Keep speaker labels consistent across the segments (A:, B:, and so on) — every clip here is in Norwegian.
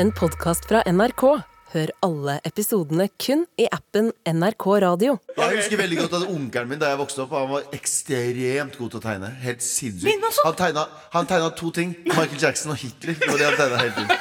A: en podkast fra NRK. Hør alle episodene kun i appen NRK Radio.
B: Jeg husker veldig godt at onkelen min da jeg vokste opp Han var ekstremt god til å tegne. Helt
C: Min
B: sinnssykt.
C: også.
D: altså-
B: Han tegna, han tegna to ting. Michael Jackson og Hitler. Det var det han tegna hele tiden.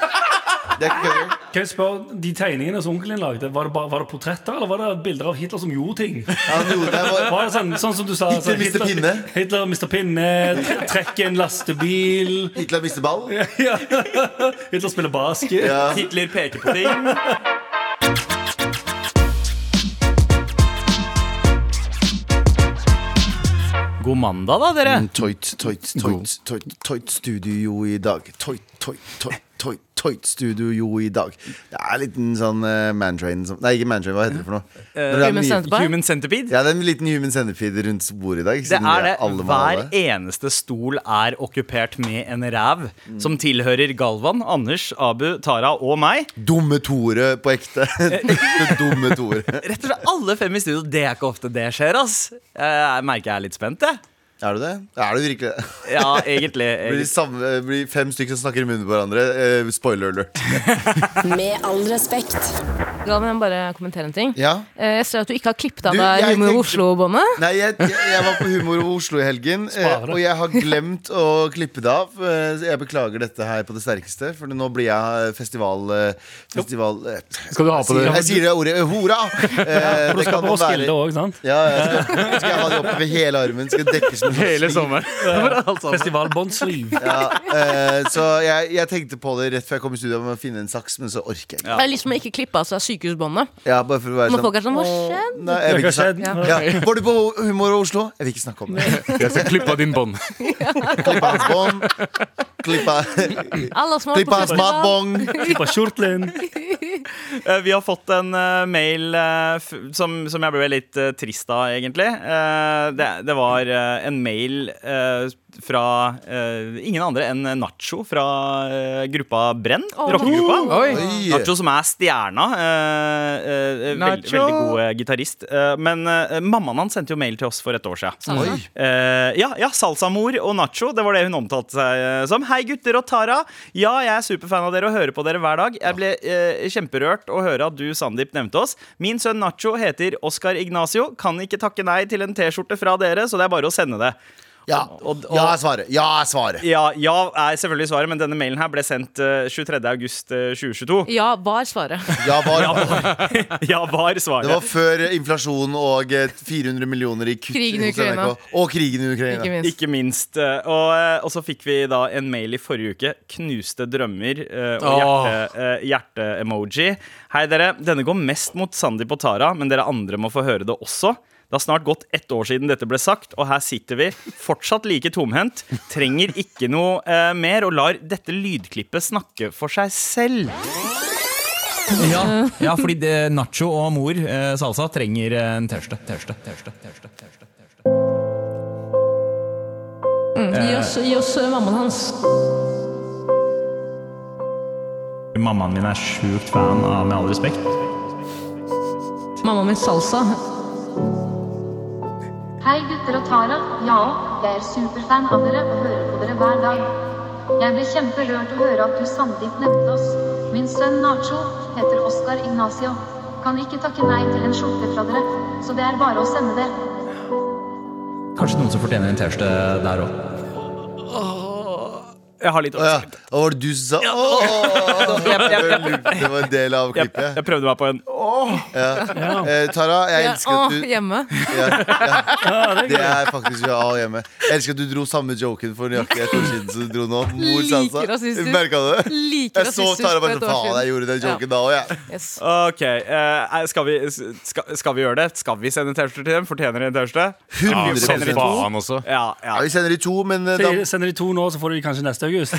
B: Det er ikke kødd.
E: Kan jeg spørre, De tegningene som onkelen din lagde, var det, bare, var det portretter eller var det bilder av Hitler som gjorde ting?
B: Han gjorde det. Jeg var,
E: Var det sånn, sånn som du sa
B: Hitler
E: sånn,
B: mister pinne.
E: Hitler mister pinne, tre- trekker en lastebil
B: Hitler mister ball.
E: ja. Hitler spiller basket.
B: Ja.
C: Hitler peker på ting.
D: God mandag, da, dere.
B: Mm. Toit, toit, toit, toit, toit studio i dag. Toit, toit, toit, toit, toit studio i dag. Det er en liten sånn eh, mantrain som Nei, ikke mantrain, hva heter det for noe? Når det er
A: Human
B: mye-
A: centipede. Hva?
D: Eh, Human centipede.
B: Ja, det er en liten human centipede rundt bordet i dag.
D: Det
B: siden
D: er det.
B: alle må ha
D: Hver eneste stol er okkupert med en ræv
B: Mm.
D: som tilhører Galvan, Anders, Abu, Tara og meg.
B: Dumme Tore på ekte. Ekte dumme Tore.
D: Rett og slett alle fem i studio. Det er ikke ofte det skjer, ass. Jeg merker jeg er litt spent, jeg.
B: Er du det? Er du virkelig det?
D: Ja, egentlig.
B: Blir, de
D: egentlig.
B: samme, blir fem stykker som snakker i munnen på hverandre. Eh, spoiler alert.
A: Med all respekt.
F: Galvan, jeg må bare kommentere en ting.
B: Ja.
F: Eh, Jeg ser at du ikke har klippet av
B: Du,
F: deg
B: jeg
F: Humor
B: tenkte-
F: Oslo-båndet.
B: Nei, jeg, jeg, jeg var på Humor og Oslo i helgen, eh,
E: Sparer.
B: og jeg har glemt å klippe det av. Eh, så jeg beklager dette her på det sterkeste, for nå blir jeg festival... Eh, festival eh,
G: Skal du ha på det?
B: jeg sier det ordet eh, hora! Eh,
E: For
B: det
E: du skal
B: kan
E: på
B: man være.
E: Roskilde òg, sant?
B: Ja, jeg skal, skal jeg ha det oppover hele armen. Skal dekkes med
D: Hele
B: sliv.
D: sommeren. Alt sammen.
E: Festival Båndsliv.
B: Ja, eh, så jeg, jeg tenkte på det rett før jeg kom i studio om å finne en saks, men så orker jeg ikke.
D: Ja.
F: Det er liksom ikke klippet av seg sykehusbåndet.
B: Ja, bare for å være
F: Når
B: sånn
F: folk er sånn, hva
B: «Åh,
F: skjedde?»
B: Nei, jeg vil
E: Hva
B: ikke snakke-
E: skjedde?
B: Ja. Var du på Humor og Oslo? Jeg vil ikke snakke om det.
G: Jeg skal klippe av din bånd.
B: Klippe hans bånd. Klippe,
F: Alle som har vært
B: klippe
F: på
B: hans
F: festival.
B: matbong.
E: På kjortelen.
D: Eh, Vi har fått en eh, mail eh, f som, som jeg ble litt eh, trist av, egentlig. Eh, det, det var eh, en mail eh, fra eh, ingen andre enn Nacho fra eh, gruppa Brenn. Rockegruppa. Nacho som er stjerna. eh, eh, veld, Nacho.
F: Nacho.
D: veldig god eh, gitarist. Eh, men eh, mammaen hans sendte jo mail til oss for et år siden.
B: Oi.
D: Eh, ja, ja, Salsamor og Nacho. Det var det hun omtalte seg eh, som. Hei, gutter og Tara. Ja, jeg er superfan av dere og hører på dere hver dag. Jeg ble eh, kjemperørt å høre at du, Sandeep, nevnte oss. Min sønn Nacho heter Oscar Ignacio. Kan ikke takke nei til en T-skjorte fra dere, så det er bare å sende det.
B: Ja,
D: Og- og-
B: ja er svaret. Ja er svaret.
D: Ja, ja er selvfølgelig svaret, men denne mailen her ble sendt eh, 23. august eh, 2022.
F: Ja, var svaret.
B: Ja var.
D: Ja, var svaret.
B: Det var før eh, inflasjon og eh, 400 millioner i kutt.
F: Krigen i
B: hos NRK.
F: Ukraina.
B: Og krigen i Ukraina.
F: Ikke minst.
D: Ikke minst. eh, Og, eh, og så fikk vi da en mail i forrige uke. Knuste drømmer eh, og
G: Åh.
D: hjerte- eh, hjerte-emoji. Hei, dere. Denne går mest mot Sandeep og Tara, men dere andre må få høre det også. Det har snart gått ett år siden dette ble sagt, og her sitter vi fortsatt like tomhendt. Trenger ikke noe eh, mer, og lar dette lydklippet snakke for seg selv.
H: Ja, ja fordi det, nacho og mor eh, salsa trenger eh, en T-skjorte. T-skjorte, T-skjorte, T-skjorte, T-skjorte. T-skjorte.
F: Gi oss, gi oss eh, mammaen hans.
D: Mammaen min er sjukt fan av Med all respekt.
F: Mammaen min salsa.
I: Hei gutter og Tara. Ja, jeg er superfan av dere og hører på dere hver dag. Jeg ble kjemperørt å høre at du Sandeep nevnte oss. Min sønn Nacho heter Oscar Ignacio. Kan ikke takke nei til en skjorte fra dere, så det er bare å sende det.
H: Kanskje noen som fortjener en T-skjorte der òg.
D: Jeg har litt
B: Å, ja. Og var det du som sa Åh! Det var en del av
D: Jeg,
B: klippet.
D: jeg prøvde meg på en
B: Eh, Tara, jeg
F: Ja,
B: elsker at
F: å,
B: du
F: hjemme.
B: ja, ja. Det er faktisk ja, å, hjemme. Jeg elsker at du dro samme joken for nøyaktig et år siden som du dro nå. Mor
F: Like
B: Sansa.
F: rasistisk.
B: Merka du det?
F: Like
B: Jeg så
F: rasistisk
B: Tara
F: for
B: bare
F: et
B: sånn
F: år
B: Faen,
F: siden.
B: jeg gjorde den joken da òg, jeg.
F: Yes.
D: Ok, eh, skal, vi, skal, skal vi gjøre det? Skal vi sende T-skjorter til dem? Fortjener de en T-skjorte?
G: Ja,
B: 100
G: som faen også.
D: Ja, ja.
B: Ja, vi sender de to, men eh, da
E: Se- Sender de to nå, så får de de kanskje neste august.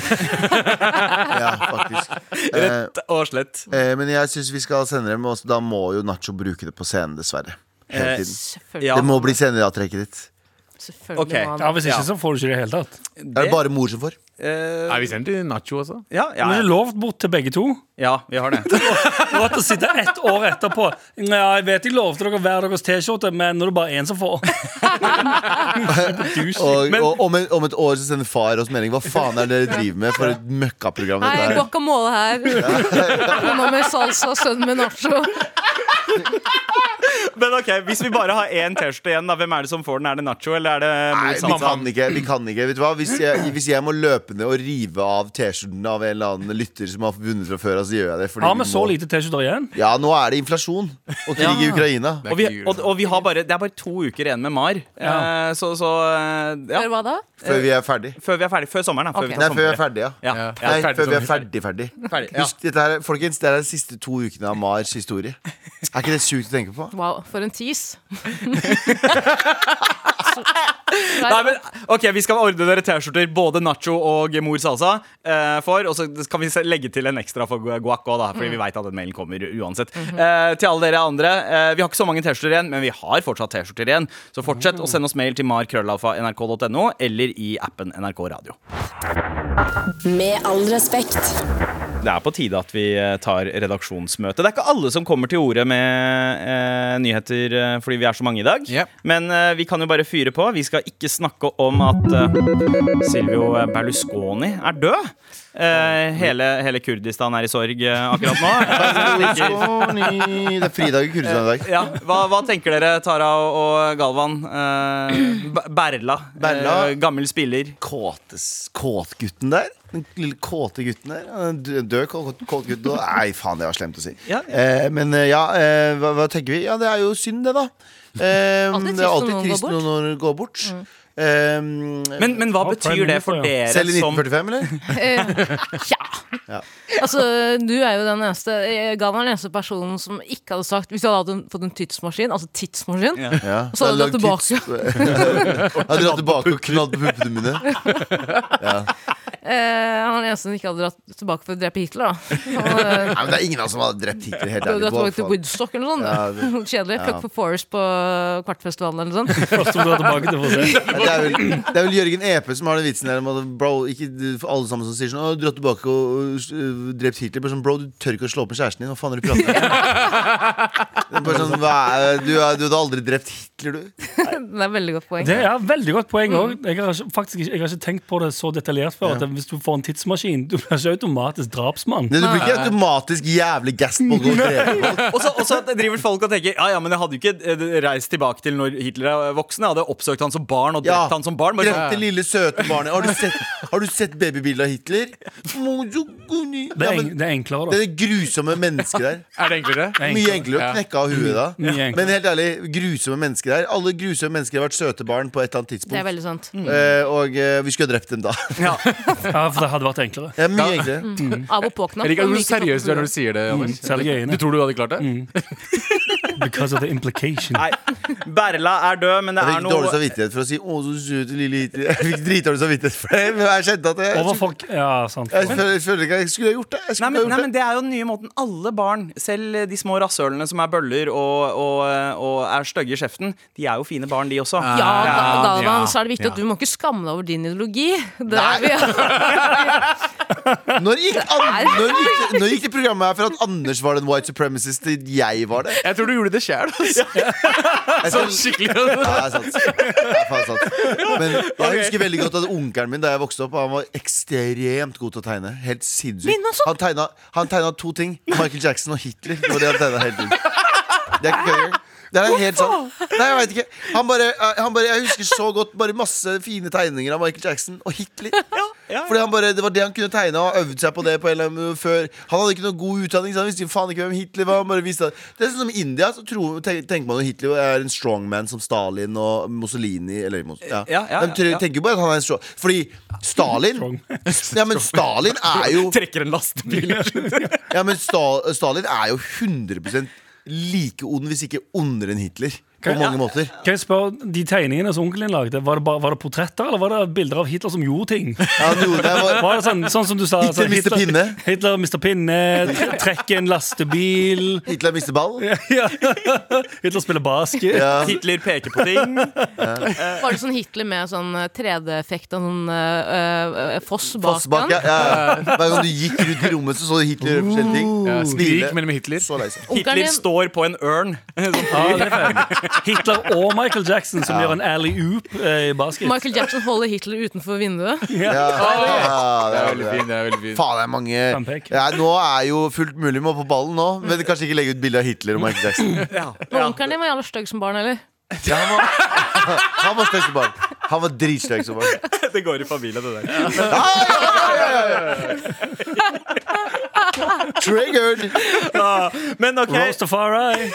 B: Ja, faktisk. Eh,
D: Rett og slett.
B: eh, men jeg syns vi skal sende dem, og da må jo Nacho bruke det på scenen, dessverre. Hele
D: Eh,
B: tiden.
F: Selvfølgelig.
D: ja.
B: Det må bli sceneavtrekket ditt.
F: Selvfølgelig
D: Ok.
F: må han.
E: Ja, Hvis ikke,
D: Ja.
E: så får du ikke det i det hele tatt.
B: Er det bare mor som får?
D: Eh,
G: Er vi sendt til Nacho også?
D: ja, ja,
E: Men det er
D: ja.
E: lovt bort til begge to.
D: ja, vi har det.
E: Og at å sitte ett år etterpå Ja, jeg vet jeg lovte dere hver deres T-skjorte, men nå er det bare én som får.
B: Og, og om, en, om et år så sender far oss melding. Hva faen er det dere driver med for et møkkaprogram?
F: Hei,
B: Dette her?
F: guacamole her. Kona med salsa, sønnen med nacho.
D: Men ok, Hvis vi bare har én T-skjorte igjen, da, hvem er det som får den? Er det Nacho eller er det
B: Nei,
D: mor
B: vi
D: Sansa?
B: kan ikke. vi kan ikke Vet du hva? Hvis jeg, hvis jeg må løpe ned og rive av T-skjorten av en eller annen lytter som har vunnet fra før, så gjør jeg det. fordi
E: Har vi
B: vi
E: så
B: må-
E: lite T-skjorter igjen?
B: Ja, nå er det inflasjon og krig i Ukraina.
D: Og, vi, og, og vi har bare, det er bare to uker igjen med Mar.
E: Ja.
D: Eh, så så eh, ja.
F: Hør hva da?
B: Før vi er ferdig.
D: Før vi er ferdig. Før sommeren. Da. Før
F: Ok.
D: vi
B: Nei,
D: tar
B: før vi er
D: sommerferie.
B: ferdig, ja.
D: Ja.
G: Ja.
D: Ja.
B: Nei,
G: ferdig
B: før vi er
G: sommer.
B: ferdig, ferdig.
D: Ferdig, ja.
B: Husk, dette her, folkens, det er de siste to ukene av Mars historie. Er ikke det sjukt å tenke på?
F: Wow, for en tease.
D: Nei, men, ok, Vi skal ordne dere T-skjorter både Nacho og Mor Salsa eh, for. Og så kan vi se- legge til en ekstra for Gu- Guac også, da, fordi vi veit at den mailen kommer u- uansett. eh, til alle dere andre, eh, vi har ikke så mange T-skjorter igjen, men vi har fortsatt T-skjorter igjen. Så fortsett å sende oss mail til markrøllalfa.nrk.no eller i appen NRK Radio.
C: Med all respekt.
D: Det er på tide at vi eh, tar redaksjonsmøte. Det er ikke alle som kommer til orde med eh, nyheter eh, fordi vi er så mange i dag.
G: Ja.
D: Men eh, vi kan jo bare fyre på. Vi skal ikke snakke om at eh, Silvio Berlusconi er død. Eh, hele, hele Kurdistan er i sorg eh, akkurat nå. Eh, tenker-
B: Berlusconi. Det er fridag i Kurdistan i dag.
D: ja, hva, hva tenker dere, Tara og, og Galvan? Eh, B- Berla.
B: Berla.
D: Eh, gammel spiller.
B: Kåtes, kåtgutten der. Den lille kåte gutten der. Han er dø- Død kåt kåt gutt. og- Nei, faen, det var slemt å si.
D: Ja, ja.
B: Eh, men eh, ja, eh, hva, hva tenker vi? Ja, det er jo synd, det, da. Eh,
F: Alltid
B: det er
F: trist
B: alltid trist
F: når noen går bort. Mm.
B: når noen går bort. Eh,
D: Men, men hva
E: Ja,
D: betyr det for
E: Prime
D: dere
B: selv i
D: som
B: 1945, eller? Ja.
F: Ja. Altså, du er jo den eneste eh, Galvan er den eneste personen som ikke hadde sagt Hvis du hadde hatt en, fått en tidsmaskin, altså tidsmaskin
D: Ja.
B: Ja.
F: Og så hadde du
B: Det er
F: dratt
B: langt tids- Jeg hadde dratt tilbake og knadd på puppene mine.
F: eh, Han er den eneste som ikke hadde dratt tilbake for å drepe Hitler, da. Han, eh,
B: Nei, men Det er ingen av oss som hadde drept Hitler. Helt
F: Du har
B: ærlig.
F: dratt
B: Hva
F: tilbake til
B: faen?
F: Woodstock eller noe
B: Ja,
F: sånt.
B: det-
F: Kjedelig.
B: ja.
F: Fuck for Forest på Kvartfestivalen eller noe sånt.
E: Første du drar tilbake til for å se.
B: Nei, det, er vel, det er vel Jørgen Epe som har den vitsen der om at bro, ikke for alle sammen som sier sånn «Å, Dratt tilbake og øh, drept Hitler. Bare sånn, bro, du tør ikke å slå opp med kjæresten din. Hva faen er det du prater om? Det er bare sånn, hva er, du, er- du hadde aldri drept Hitler, du.
F: Det er et veldig godt poeng.
E: Det er veldig godt poeng òg. Jeg, har ikke- faktisk ikke- jeg har ikke tenkt på det så detaljert før. At hvis du får en tidsmaskin, du blir ikke automatisk drapsmann.
B: Nei, du blir ikke automatisk jævlig gassed på å gå og drepe folk.
D: Og så- og så driver folk og tenker Ja, ja, men jeg hadde jo ikke eh, reist tilbake til når Hitler er voksen. Jeg hadde oppsøkt han som barn og drept
B: Ja.
D: han som barn. Bare, sånn.
B: Drept det lille, søte barnet. Har du sett, har du sett babybildet av Hitler?
E: Det
B: Det
E: er, en, det er enklere,
B: Det
E: da.
B: er det grusomme mennesket der.
G: Er det enklere?
E: Det er
B: Mye
E: enklere.
B: enklere å knekke av huet da.
E: Mye enklere.
B: Men helt ærlig, grusomme mennesker der. Alle grusomme mennesker har vært søte barn på et eller annet
F: Det er
B: tidspunkt.
F: veldig sant.
G: Mm.
B: Eh, og eh, vi skulle ha drept dem da.
E: Ja, for det hadde vært enklere.
B: Det er mye
D: Mm.
B: enklere.
F: Av og på-knapp.
G: Jeg liker
F: men
G: hvor
F: like
G: seriøs du er
F: kroppen.
G: når du sier det. Anders.
B: Mm.
E: Selg øynene.
G: Du tror du hadde klart det?
E: Because of the implication.
D: Nei, Berla er død, men det
B: Jeg
D: er
B: fikk dårlig
D: noe
B: samvittighet for å si 'Å, så søte lille Hitler'. Jeg fikk dritdårlig samvittighet for det. Men jeg kjente at jeg,
E: Over
B: jeg,
E: folk Ja, sant.
B: føler- jeg føler ikke at jeg skulle ha gjort det. Jeg
D: Nei
B: skulle
D: men,
B: ikke
D: nei,
B: ha
D: men
B: gjort det.
D: Det er jo den nye måten alle barn, selv de små rasshølene som er bøller og, og, og er stygge i kjeften, de er jo fine barn, de også.
F: Ja, da- Galvan,
G: Ah, ja,
F: så er det viktig at
G: ja.
F: du må ikke skamme deg over din ideologi. Det er vi
B: Når gikk, an, når, gikk, når gikk det programmet her fra at Anders var den white supremacist til jeg var det?
G: Jeg tror du gjorde det altså. sjæl.
B: Jeg skal-
G: Skikkelig.
B: Ja, det er sant. Det er faen sant. Men jeg husker veldig godt at onkelen min da jeg vokste opp, han var ekstremt god til å tegne. Helt
F: Min
B: sinnssykt.
F: også.
B: Han tegna, han tegna to ting. Michael Jackson og Hitler. Det var det han tegna hele tiden. Det er ikke kødd. Det er helt sant. Nei, jeg vet ikke. Han bare, eh, han bare, jeg husker så godt bare masse fine tegninger av Michael Jackson og Hitler.
D: ja.
B: Fordi han bare, Det var det han kunne tegne, og han øvde seg på det på en eller annen før. Han hadde ikke noe god utdanning, så han visste jo faen ikke hvem Hitler var. Han bare visste at- Det er sånn som i India, så tror, tenk, tenker man jo Hitler er en strongman som Stalin og Mussolini. Eller, Mos- ja.
D: Ja, ja,
B: De tror,
D: ja.
B: tenker jo bare at han er en strong Fordi Stalin Ja, men Stalin er jo
D: Trekker en lastebil.
B: ja, men Sta Stalin er jo 100 like ond, hvis ikke ondere enn Hitler. På mange måter.
E: Kan jeg spørre, De tegningene som onkelen din lagde, var det, bare, var det portretter eller var det bilder av Hitler som gjorde ting?
B: Ja, han gjorde det. Jeg var-
E: Var det sånn, sånn som du sa
B: Hitler
E: sånn,
B: mister pinne.
E: Hitler mister pinne, tre- trekker en lastebil
B: Hitler mister ball.
E: ja. Hitler spiller basket.
B: Ja.
D: Hitler peker på ting.
F: Var det sånn Hitler med sånn 3D-effekt av sånn eh, eh, foss bak
B: Fossbakk, ja,
F: han?
B: ja. Hver gang du gikk rundt i rommet, så så du Hitler gjøre forskjellige ting.
G: Ja,
B: Smile.
G: skrik mellom Hitler.
B: Så lei seg.
F: Onkelen
D: Hitler
F: din-
D: står på en ørn.
E: Ja, det er fett. Hitler og Michael Jackson som gjør en alley-oop eh, i basket.
F: Michael Jackson holder Hitler utenfor vinduet.
B: Ja, ja, det
G: Det
B: er
G: er veldig
B: det.
G: fint. det er veldig fint
B: Faen, det er mange
E: Frampek.
B: ja, Nå er jo fullt mulig med å på ballen nå, men kanskje ikke legge ut bilde av Hitler og Michael Jackson.
F: Men onkelen din var jævla stygg som barn, eller?
B: Ja, han var, han var stygg som barn. Han var dritstygg som barn.
D: Det går i familie, det der.
B: Triggered!
D: Ja. Men ok,
E: Rastafari.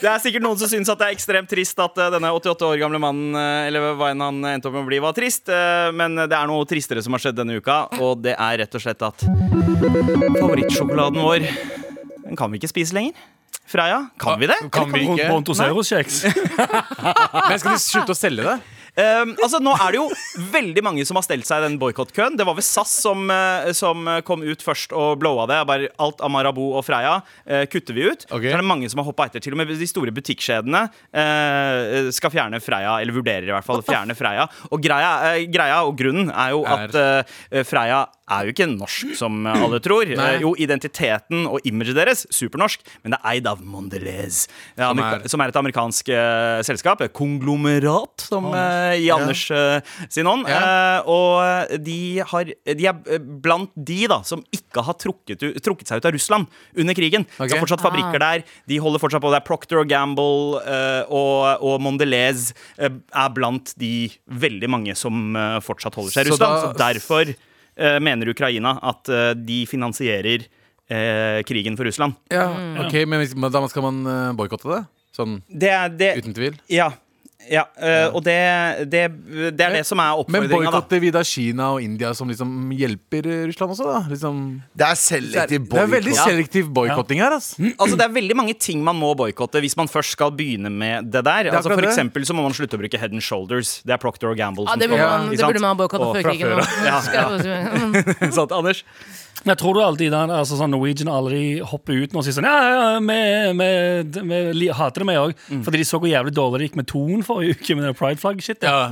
D: Det er sikkert noen som syns at det er ekstremt trist at eh, denne 88 år gamle mannen eh, Eller hva enn han endte opp med å bli, var trist. eh, Men det er noe tristere som har skjedd denne uka, og det er rett og slett at favorittsjokoladen vår Den kan vi ikke spise lenger. Freia, kan vi det?
G: Kan vi ikke?
E: Brontosaurus-kjeks.
G: Men skal de slutte å selge det?
D: Um, altså Nå er det jo veldig mange som har stelt seg i den boikottkøen. Det var vel SAS som, eh, som kom ut først og blowa det. Bare alt av Marabou og Freia eh, kutter vi ut.
G: Ok.
D: Så er det mange som har hoppa etter. Til og med de store butikkjedene eh, skal fjerne Freia, eller vurderer i hvert fall å fjerne Freia. Og greia, eh, greia og grunnen er jo at eh, Freia er jo ikke norsk, som alle tror. Eh, jo, identiteten og imaget deres, supernorsk, men det er eid av Mondelez. Ja,
G: Som
D: amerika-
G: er-
D: som er et amerikansk eh, selskap. et Konglomerat, som eh, i Anders eh, sin ånd. Eh, og de, har, de er eh, blant de da som ikke har trukket, u- trukket seg ut av Russland under krigen.
G: Ok.
D: Det er fortsatt fabrikker der. De holder fortsatt på. Det er Procter og Gamble eh, og, og Mondelez eh, er blant de veldig mange som eh, fortsatt holder seg i
G: Så
D: Russland.
G: da-
D: Så derfor eh, mener Ukraina at eh, de finansierer eh, krigen for Russland.
G: Ja, ok, Men hvis- men da skal man eh, boikotte det? Sånn
D: Det er det
G: uten tvil.
D: Ja. ja øh, og det, det, det er det som er
G: Men
D: oppfordringa, da.
G: boikotter vi da Kina og India, som liksom hjelper eh, Russland også? da? Liksom,
B: Det er
G: det, er,
B: selektiv
G: det er veldig
B: boikott.
G: selektiv boikotting her. ass
E: Mm.
D: Altså, det er veldig mange ting man må boikotte hvis man først skal begynne med det der. Altså,
G: akkurat
D: for
G: det.
D: eksempel så må man slutte å bruke Head and Shoulders. Det er Procter og Gamble.
F: Ja,
D: som
F: det burde
D: står bak,
F: man,
D: ikke
F: det burde
D: sant?
F: man ha boikotta
D: Og
F: før
D: fra
F: krigen.
D: før
F: nå. Skal jeg bare si.
D: av. Sant, Anders?
E: Men jeg tror du alltid den, altså sånn Norwegian aldri hopper ut nå og sier sånn Ja, ja, ja, vi, vi, vi, li- hater det, vi òg. Fordi de så hvor jævlig dårlig det gikk med Thon forrige uke med det pride-flagg-shit.
G: Ja,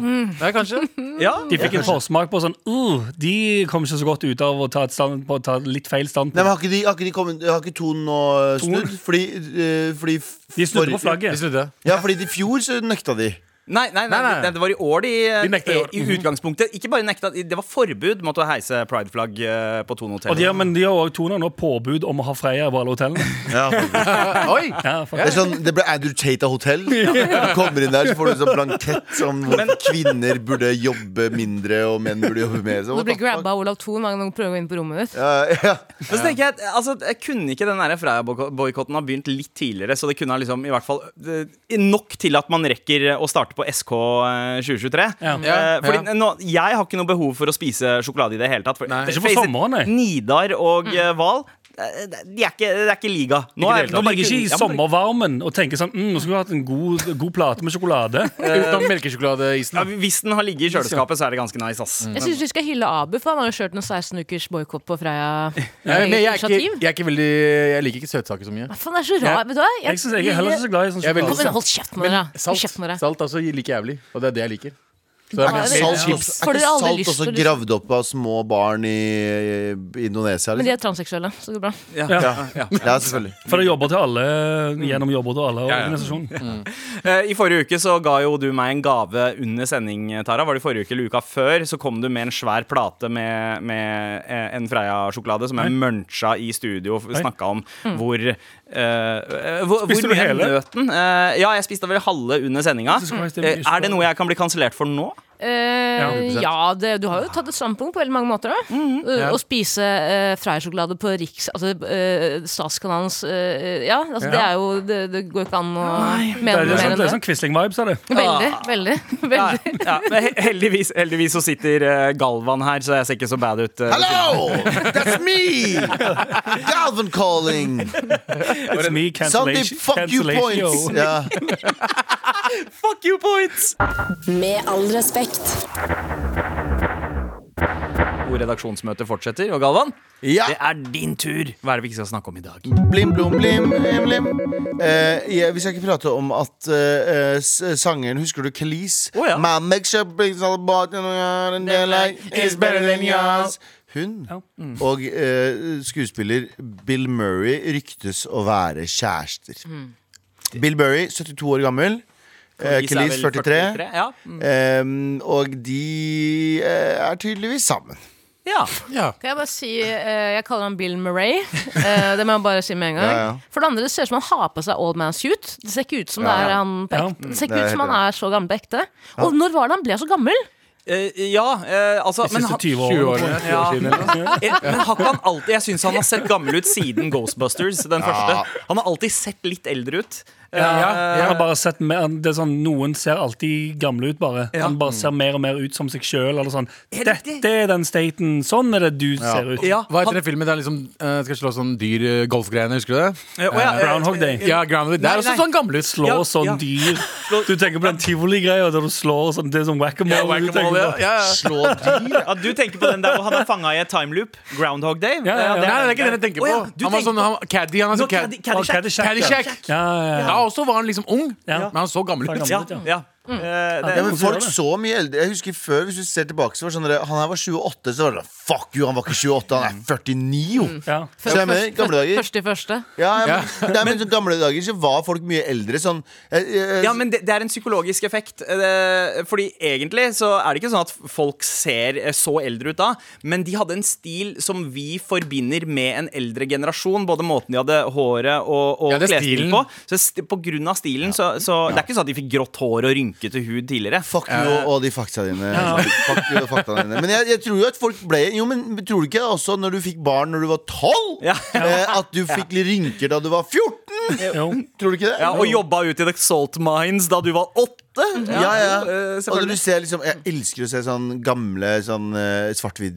G: kanskje.
D: Ja.
E: De fikk en forsmak på sånn uh, De kom ikke så godt ut av å ta, et stand, på, å ta litt feil
B: Nei, men
E: standpunkt.
B: har ikke, de, har ikke, de kommet, har ikke Ton nå eh, snudd? Fordi, eh, fordi f-
E: De snudde
B: for-
E: på flagget.
G: Vi snudde.
B: Ja, fordi i fjor så nøkta de.
D: Nei, nei, nei,
G: Nei, nei.
D: det- det var i år de,
G: De nekta i år.
D: i utgangspunktet Ikke bare nekta, det var forbud mot å heise prideflagg eh, på Thon hotell.
E: Og de, har- men de har òg Thon har nå påbud om å ha Freia på alle hotellene.
B: Ja,
G: Oi!
E: Ja, fuck.
B: det, er sånn, det ble Andrew Tate av hotell. Du kommer inn der, så får du sånn blankett om hvor kvinner burde jobbe mindre, og menn burde jobbe mer. Så,
F: Du blir grabba av Olav Thon hver gang du prøver å gå inn på rommet ditt.
B: Ja, ja.
D: Men så tenker jeg, altså, jeg Kunne ikke den der Freia-boikotten ha begynt litt tidligere? Så det kunne ha liksom, i hvert fall eh, nok til at man rekker å starte på SK eh, 2023.
E: Ja.
D: Eh, fordi
G: Ja.
D: nå, Jeg har ikke noe behov for å spise sjokolade i det hele tatt. For,
G: Nei.
E: Ikke for
D: face it,
E: sommeren, nei.
D: Nidar og eh, Hval eh, de er ikke, det er ikke liga. Nå er- nå
E: Du
D: bare
E: ligger ikke
D: kun-
E: i
D: Ja, men-
E: sommervarmen og tenker sånn mm, Nå skulle vi hatt en god, god plate med sjokolade.
G: Utenom melkesjokoladeisen.
D: Ja, hvis den har ligget i kjøleskapet, så er det ganske nice. ass
E: Mm.
F: Jeg syns vi skal hylle Abu, for han har jo kjørt en 16 ukers boikott på Freia.
G: Ja, men jeg, er ikke,
F: Initiativ?
G: jeg er ikke veldig Jeg liker ikke søtsaker så mye.
F: Hva faen, det er så rar, vet du hva?
E: Jeg, synes, jeg er heller ikke så glad i sånn
G: Jeg er veldig
F: Kom igjen,
E: sjokolade.
G: glad.
F: Hold kjeft med dere! Hold
G: Salt,
F: kjeft med dere.
G: salt altså liker jævlig, og det er det jeg liker. Så det er
F: Ja,
G: mer-
F: det-
B: Salt,
F: ja.
B: chips.
F: Får
B: Er
F: dere
B: ikke
F: aldri
B: salt
F: lyst
B: også
F: til-
B: gravd opp av små barn i, i Indonesia?
F: Men de
B: Liksom?
F: er transseksuelle, så det går bra.
B: Ja, selvfølgelig.
E: For det jobber til alle gjennom jobber til alle
G: Ja, ja.
E: organisasjoner.
D: Eh, I forrige uke så ga jo du meg en gave under sending, eh, Tara. Var det i forrige uke eller uka før? Så kom du med en svær plate med, med eh, en Freia-sjokolade som jeg muncha i studio og snakka om hvor eh, eh, hvor,
E: Spiste du
D: hvor mye
E: hele?
D: nøten eh, Ja, jeg spiste vel halve under sendinga.
E: Jesus Christ, det er
D: Eh,
E: mye
D: er det noe jeg kan bli kansellert for nå?
F: Eh, ja, det, du har jo tatt et standpunkt på veldig mange måter. Da. Eh, Å spise uh, Freia-sjokolade på Riks... Altså eh, Statskanalens eh, Ja, altså, det er jo det, det går ikke an å
E: Det er, det
F: mene noe
E: er
F: mer
E: sånn, det er
F: enn
E: sånn Quisling-vibes av det.
F: det. Veldig, veldig.
D: Ja,
F: veldig.
D: ja, men he- heldigvis, heldigvis så sitter eh, Galvan her, så jeg ser ikke så bad ut. eh,
B: Hello! That's me! Galvan calling!
E: It's
B: Somebody
E: me, cancellation.
B: fuck you
E: cancellation.
B: points! Ja.
D: Fuck you points!
C: Med all respekt.
D: Og redaksjonsmøtet fortsetter. Og Galvan,
B: Ja.
D: det er din tur. Hva er det vi ikke skal snakke om i dag?
B: Blim, blom, blim, blim, blim. Eh, jeg, vi skal ikke prate om at eh, s- sangeren Husker du Kelis?
D: Å, ja.
B: My makeup brings all about you know, and they're like, it's better than yours. Hun
D: mm.
B: og eh, skuespiller Bill Murray ryktes å være kjærester. Bill Murray, 72 år gammel. Eh,
D: Is er
B: Kelis,
D: vel
B: 43.
D: Ja. Mm.
B: Ehm, og de eh, er tydeligvis sammen.
D: ja.
F: Kan jeg bare si eh, Jeg kaller han Bill Murray. Eh, det må jeg bare si med en gang.
B: Ja, ja.
F: For det andre, det ser ut som han har på seg old man suit. Det ser ikke ut som,
B: Ja, ja.
F: det er han, på
E: Ja.
F: ekte. Det ser
B: Det
F: ikke
B: er
F: ut som
B: helt
F: han er så gammel på ekte. Og når var det han ble så gammel?
D: Eh, ja eh, altså
E: De siste
D: han-
E: 20
G: 20
E: årene.
G: årene.
D: Ja.
G: 20 årene.
D: Eh, Men har ikke han alltid Jeg syns han har sett gammel ut siden Ghostbusters. Den første Han har alltid sett litt eldre ut. Eh,
E: Jeg har bare sett mer, det er sånn, Noen ser alltid gamle ut, bare. Han bare ser mer og mer ut som seg sjøl. Sånn. Dette er den staten. Sånn er det du ser ut.
D: ja,
G: Hva
D: han-
G: heter det filmen der liksom eh, skal slå sånn dyr eh, golfgreiene? Husker du det?
D: Eh, å ja, eh,
E: Groundhog Day.
G: Ja, Groundhog. Det
D: Nei,
G: er også
D: nei.
G: sånn gamle
E: Slå
D: Ja,
E: sånn
D: ja.
E: dyr. Du tenker på den tivoli-greia der du slår sånn. Det er sånn whack-a-mole.
D: Ja,
E: du tenker
D: whack-a-mole,
E: på.
G: ja, ja.
B: Slå dyr?
D: Ja, du tenker på den der hvor han er fanga i et timeloop? Groundhog Day?
E: ja, ja.
G: Nei, nei, det er ikke den jeg
D: Å
G: tenker på.
D: ja, du
G: han var
D: tenker
G: sånn han, Caddy. Han er
D: Nå,
G: sånn Caddy.
D: Caddy- Caddyshack.
E: Caddyshack, ja.
G: Caddyshack.
E: Ja, ja, ja.
G: Da også var han liksom ung,
E: Ja.
G: men han så gammel
E: Ja.
G: ut.
D: Ja, ja. Eh, det,
B: Ja, men
E: Hvorfor
B: folk
E: gjør det?
B: så mye eldre Jeg husker før, hvis du ser tilbake Så var det sånn der, Han her var 28, så var det sånn, Fuck you, han var ikke 28, han er 49 jo
E: Ja.
B: Så jeg mener, i gamle dager
F: Første i første.
B: ja, ja, men, nei, men så gamle dager så var folk mye eldre Sånn eh, eh,
D: Ja, men det, det er en psykologisk effekt. Eh, Fordi egentlig så er det ikke sånn at folk ser eh, så eldre ut da, men de hadde en stil som vi forbinder med en eldre generasjon. Både måten de hadde håret og, og
G: Ja, det er
D: klesstilen
G: stilen.
D: på. Så st på grunn av stilen, så, så det er ikke sånn at de fikk grått hår og rynkete hud tidligere.
B: Fuck you og de fakta dine Fuck you og fakta dine Men jeg, jeg tror jo at folk ble Jo, men tror du ikke også Når du fikk barn når du var 12
D: Ja.
B: eh, At du fikk litt rynker da du var 14
E: Jo.
B: Tror du ikke det?
D: Ja, og jobba ut i The Salt Mines da du var åtte.
B: Ja, ja.
D: Eh,
B: Og når du
D: selvfølgelig.
B: ser liksom, jeg elsker å se sånn gamle sånn, eh,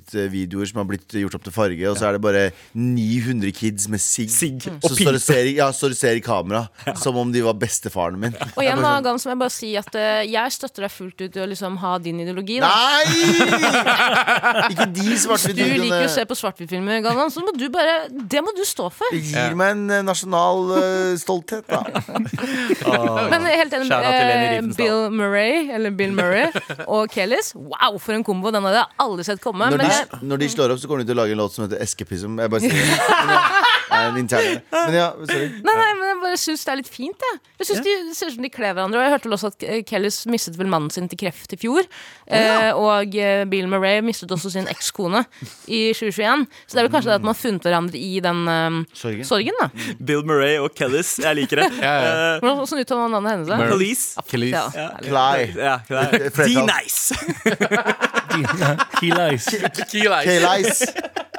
B: svart-hvitt-videoer som har blitt gjort opp til farge, og så er det bare 900 kids med sigg.
D: Sigg
B: Som
D: og
B: står
D: pipe.
B: og ser, i- ja, står og ser i kamera, som om de var bestefaren min.
F: Og igjen da, Gams, må jeg bare si at eh, jeg støtter deg fullt ut i å liksom ha din ideologi. Da.
B: Nei! Ikke de
F: Du liker jo å se
B: svart-hvitt-videoene.
F: på svart-hvitt-filmer, Galvan, så må du bare Det må du stå for.
B: Det gir meg en eh, nasjonal eh, stolthet, da.
F: Men jeg er helt enig
D: Shout out til Leni
F: med eh,
D: Riefenstahl.
F: Bill Murray Eller Bill Murray og Kellis. Wow, for en kombo! Den hadde jeg aldri sett komme.
B: Når
F: Men
B: de,
F: jeg,
B: når de slår opp, så kommer de til å lage en låt som heter Escapism. Jeg bare sier det. Men ja, det er en intern Men ja, sorry.
F: nei, nei, men jeg bare syns det er litt fint. Jeg, jeg synes de, Det ser ut som de kler hverandre. Og jeg hørte vel også at eh, Kellis mistet vel mannen sin til kreft i fjor. Eh, og eh, Bill Murray mistet også sin ekskone i 2021. Så det er vel kanskje det at man har funnet hverandre i den eh,
B: Sorgen.
F: sorgen. da
D: Bill Murray og Kellis. Jeg liker det. Eh,
G: Ja,
F: Hvordan- Hvordan uttaler man navnet hennes? da?
G: Murray.
D: Police.
G: Kelly.
F: Ja.
B: Klei.
D: Ja, det er-
B: Flertall.
D: D-nice.
E: Keleis.
B: K-Lice.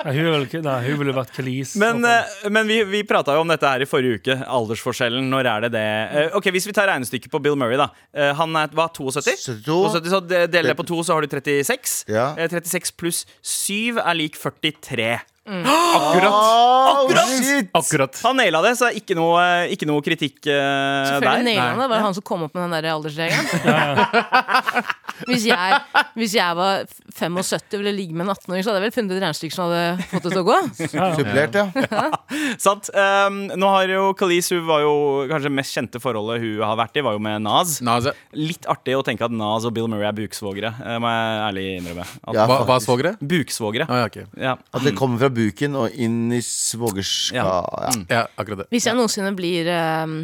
E: Ja, Hun ville ikke- nei, hun ville vært Kelis.
D: Men, eh, men vi, vi prata jo om dette her i forrige uke. Aldersforskjellen. Når er det det Eh, Ok, Hvis vi tar regnestykket på Bill Murray, da. Eh, Han er, hva, 72?
B: 72.
D: 72 så de- deler det på to, så har du 36.
B: Ja.
D: Eh, 36 pluss 7 er lik 43.
G: Akkurat.
B: Oh, shit!
G: Akkurat.
D: Han naila det, så ikke noe, ikke noe kritikk eh,
F: Selvfølgelig
D: der.
F: nailer han det. Det var han som kom opp med den der aldersregelen. hvis, jeg, hvis jeg var 75 og ville ligge med en 18-åring, så hadde jeg vel funnet et regnestykke som hadde fått det til å gå.
B: Supplert, ja.
D: Sant? Um, nå har jo Khalees, hun var jo kanskje mest kjente forholdet hun har vært i, var jo med Naz.
G: Naze.
D: Litt artig å tenke at Naz og Bill Murray er buksvogere, eh, må jeg ærlig innrømme. At,
B: Ja,
G: Hva, hva
B: faktisk.
G: svogere?
D: Buksvogere.
G: Ah, ja, ok.
D: Ja.
B: At det kommer fra buken og inn i svogerska ja.
D: Ja.
G: ja, Mm. akkurat det.
F: Hvis jeg noensinne blir eh,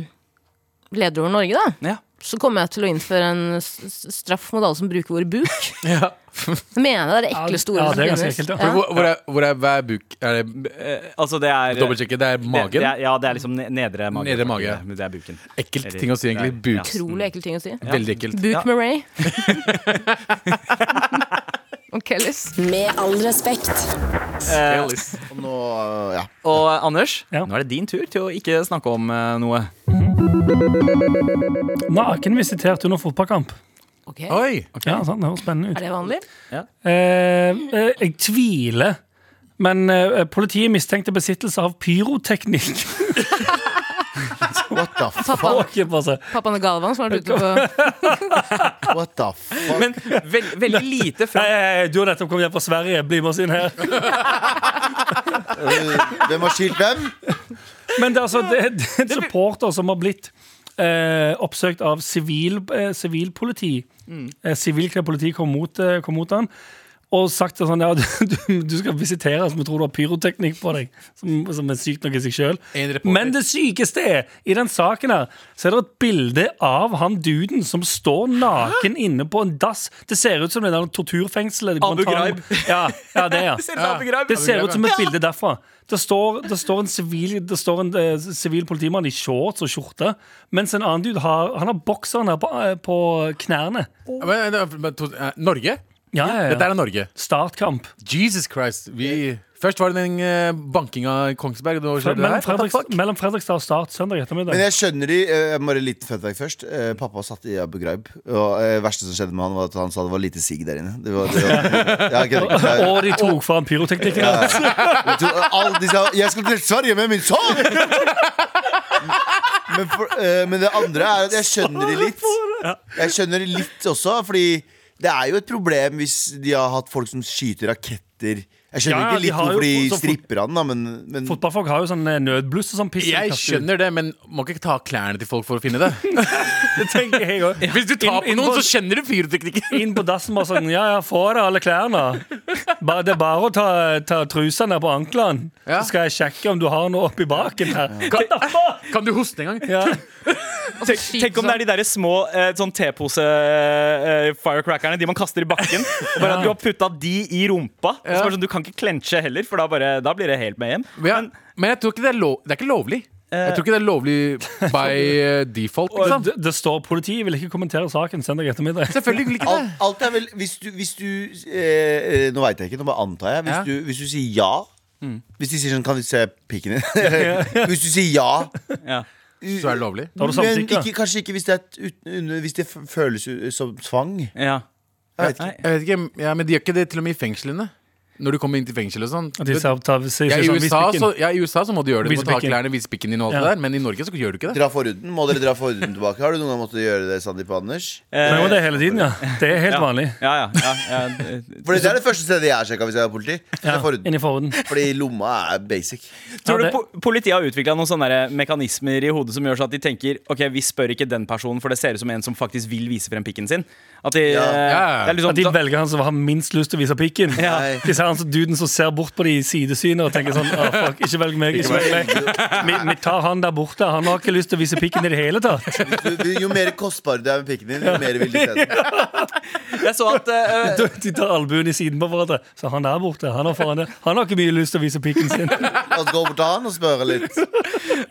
F: leder over Norge, da,
D: Ja.
F: så kommer jeg til å innføre en s- s- straff mot alle som bruker ordet buk.
G: Ja.
F: Jeg mener det er det
E: Ja,
F: ekle store
E: ja,
F: som
E: det er ganske
F: finnes.
E: ekkelt, ja.
F: Ja.
G: Hvor, hvor er, hvor er, hva er buk? Er det
D: Altså, det er
G: dobbeltsjekke? Det er
D: Det,
G: magen?
D: det er, ja, det er liksom ne- nedre mage.
G: Nedre mage.
D: Det er buken.
G: Ekkelt ting å si, egentlig.
D: Det er-
G: Buk.
F: Utrolig ekkel ting å si.
G: Veldig ekkelt.
F: Buk Murray. Og Kellis.
C: Med all respekt.
D: Eh,
B: Og nå, øh, ja.
D: og eh, Anders,
E: Ja.
D: nå er det din tur til å ikke snakke om eh, noe.
E: Naken visitert under fotballkamp.
F: Ok,
G: Oi!
E: Ja, sant, det høres spennende ut.
F: Er det vanlig?
E: Eh, eh, jeg tviler, men eh, politiet mistenkte besittelse av pyroteknikk.
B: What the fuck?
F: Pappa,
E: Ikke bare så-
F: pappaen til Galvan som har vært ute på
B: What the fuck?
D: Men veld, veldig lite
E: Hei,
D: fra
E: hei, hei, Eh, du har nettopp kommet hjem fra Sverige. Bli med oss inn her.
B: Eh, hvem har skilt hvem?
E: Men det, er altså, det, det er en supporter som har blitt eh, oppsøkt av sivil, eh, sivilpoliti. Eh, Sivilkledd politi kom mot, eh, kom mot han og sagt sånn ja, du, du- du skal visiteres, vi tror du har pyroteknikk på deg. Som, som er sykt nok i seg sjøl.
G: En reporter.
E: Men det sykeste er, i den saken her, så er det et bilde av han duden som står naken inne på en dass. Det ser ut som det der torturfengselet.
D: Abu
E: Guantanamo. Ja, ja, det, ja.
D: Det ser ut som Abu Ghraib.
E: Det ser ut som et bilde derfra. Det står, det står en sivil Det står en eh, sivil politimann i shorts og skjorte, mens en annen dude har Han har bokseren her på, eh, på knærne.
G: Ja, Men, men, men, to- eh, Norge?
E: Ja, ja,
G: Dette
E: ja.
G: er Norge.
E: Startkamp.
G: Jesus Christ. Vi, først var det den eh, bankinga i Kongsberg. Det var, det
E: Mellom,
G: her. What the
E: Fredriks,
G: fuck?
E: mellom Fredrikstad og Start søndag ettermiddag.
B: Men jeg skjønner de eh, Bare litt fun fact først. Eh, pappa satt i Abu Ghraib. Og det verste som skjedde med han, var at han sa det var lite sigg der inne. Det var, det var, ja, ok, det er-
E: Og de tok fra han pyroteknikken. hans.
B: Jeg tror alle de sa Jeg skal til Sverige med min sang! Men, for, eh, men det andre er at jeg skjønner det litt. Jeg skjønner det litt også, fordi det er jo et problem hvis de har hatt folk som skyter raketter. Jeg skjønner
E: Ja, de
B: ikke litt
E: har jo
B: hvorfor de
E: fått- så fort-
B: stripper han, da, men, men
E: Fotballfolk har jo sånn eh, nødbluss og sånn piss. de
G: Jeg
E: kaster ut.
G: skjønner det, men må ikke ta klærne til folk for å finne det.
E: Det tenker jeg også.
G: Hvis du tar på
E: Inn- inn
G: noen,
E: på-
G: så kjenner du pyroteknikken.
E: Inn på dassen bare sånn Ja, ja, få av deg alle klærne. Bare, det er bare å ta, ta trusene på anklene,
G: Ja.
E: så skal jeg sjekke om du har noe oppi baken her. What the fuck?
G: Kan du hoste en gang?
E: Ja.
D: Tenk, tenk om det er de der små eh, sånn tepose-firecrackerne De man kaster i bakken. Bare at du har putta de i rumpa. Så bare sånn, du kan ikke klenche heller, for da, bare, da blir det helt med hjem.
G: Men, jeg, men jeg tror ikke det er, lov, det er ikke lovlig. Jeg tror ikke det er lovlig by eh, default. Ikke
E: Og
G: sant?
E: det, det står politiet vil ikke kommentere saken søndag ettermiddag.
G: Selvfølgelig vil ikke det.
B: alt, alt er vel Hvis du, hvis du eh, eh, Nå veit jeg ikke, nå bare antar jeg. Hvis,
G: Ja.
B: du, hvis du sier ja
E: Mm.
B: Hvis de sier sånn Kan vi se pikken din? hvis du sier ja
D: Ja.
G: Så er det lovlig.
E: Da har du
B: Men
E: samtykka.
B: ikke, kanskje ikke hvis det, er et ut, under- hvis det f- føles u- som tvang.
D: Ja.
B: Jeg vet ikke.
G: Jeg vet ikke, ja, Men de gjør ikke det til og med i fengslene. Når du kommer inn til fengsel og sånn.
E: At de sa- ta- sier
G: Ja, i,
E: sånn, «Vis
G: USA,
E: pikken».
G: så, ja, I USA så må du gjøre det. Du må ta av
E: Visepikken.
G: klærne, vise pikken din og alt
E: Ja.
G: det der. Men i Norge så gjør du ikke det.
B: Dra forhuden. Må dere dra forhuden tilbake? Har du noen gang måttet gjøre det, Sandeep og Anders?
E: Men jo, det er hele tiden, ja. Det er helt
D: Ja.
E: vanlig.
D: Ja, ja, ja, ja.
B: For det er det første stedet jeg har sjekka hvis jeg er politi. Det
E: Ja,
B: er forhuden.
E: inni forhuden.
B: Fordi lomma er basic.
D: Tror
E: Ja,
D: du
E: det-
D: po- politiet har utvikla noen sånne der mekanismer i hodet som gjør sånn at de tenker Ok, vi spør ikke den personen, for det ser ut som en som faktisk vil vise frem pikken sin? At de,
B: Ja.
D: eh,
G: Ja.
D: det er litt
E: At de
D: sånn, da,
E: velger han som har minst lyst til å vise pikken.
D: Ja.
E: De ser han som duden som ser bort på de i sidesynet og tenker sånn «Å, fuck, ikke velg meg. Ikke velg meg. Vi, vi tar han der borte. Han har ikke lyst til å vise pikken i det hele tatt.
B: Du, du, jo mer kostbar du er med pikken din, jo mer vil de se den.
D: jeg så at eh,
E: De tar albuen i siden på hverandre. Så han der borte, han har, faen, han har ikke mye lyst til å vise pikken sin.
B: La oss gå bort til han og spørre litt.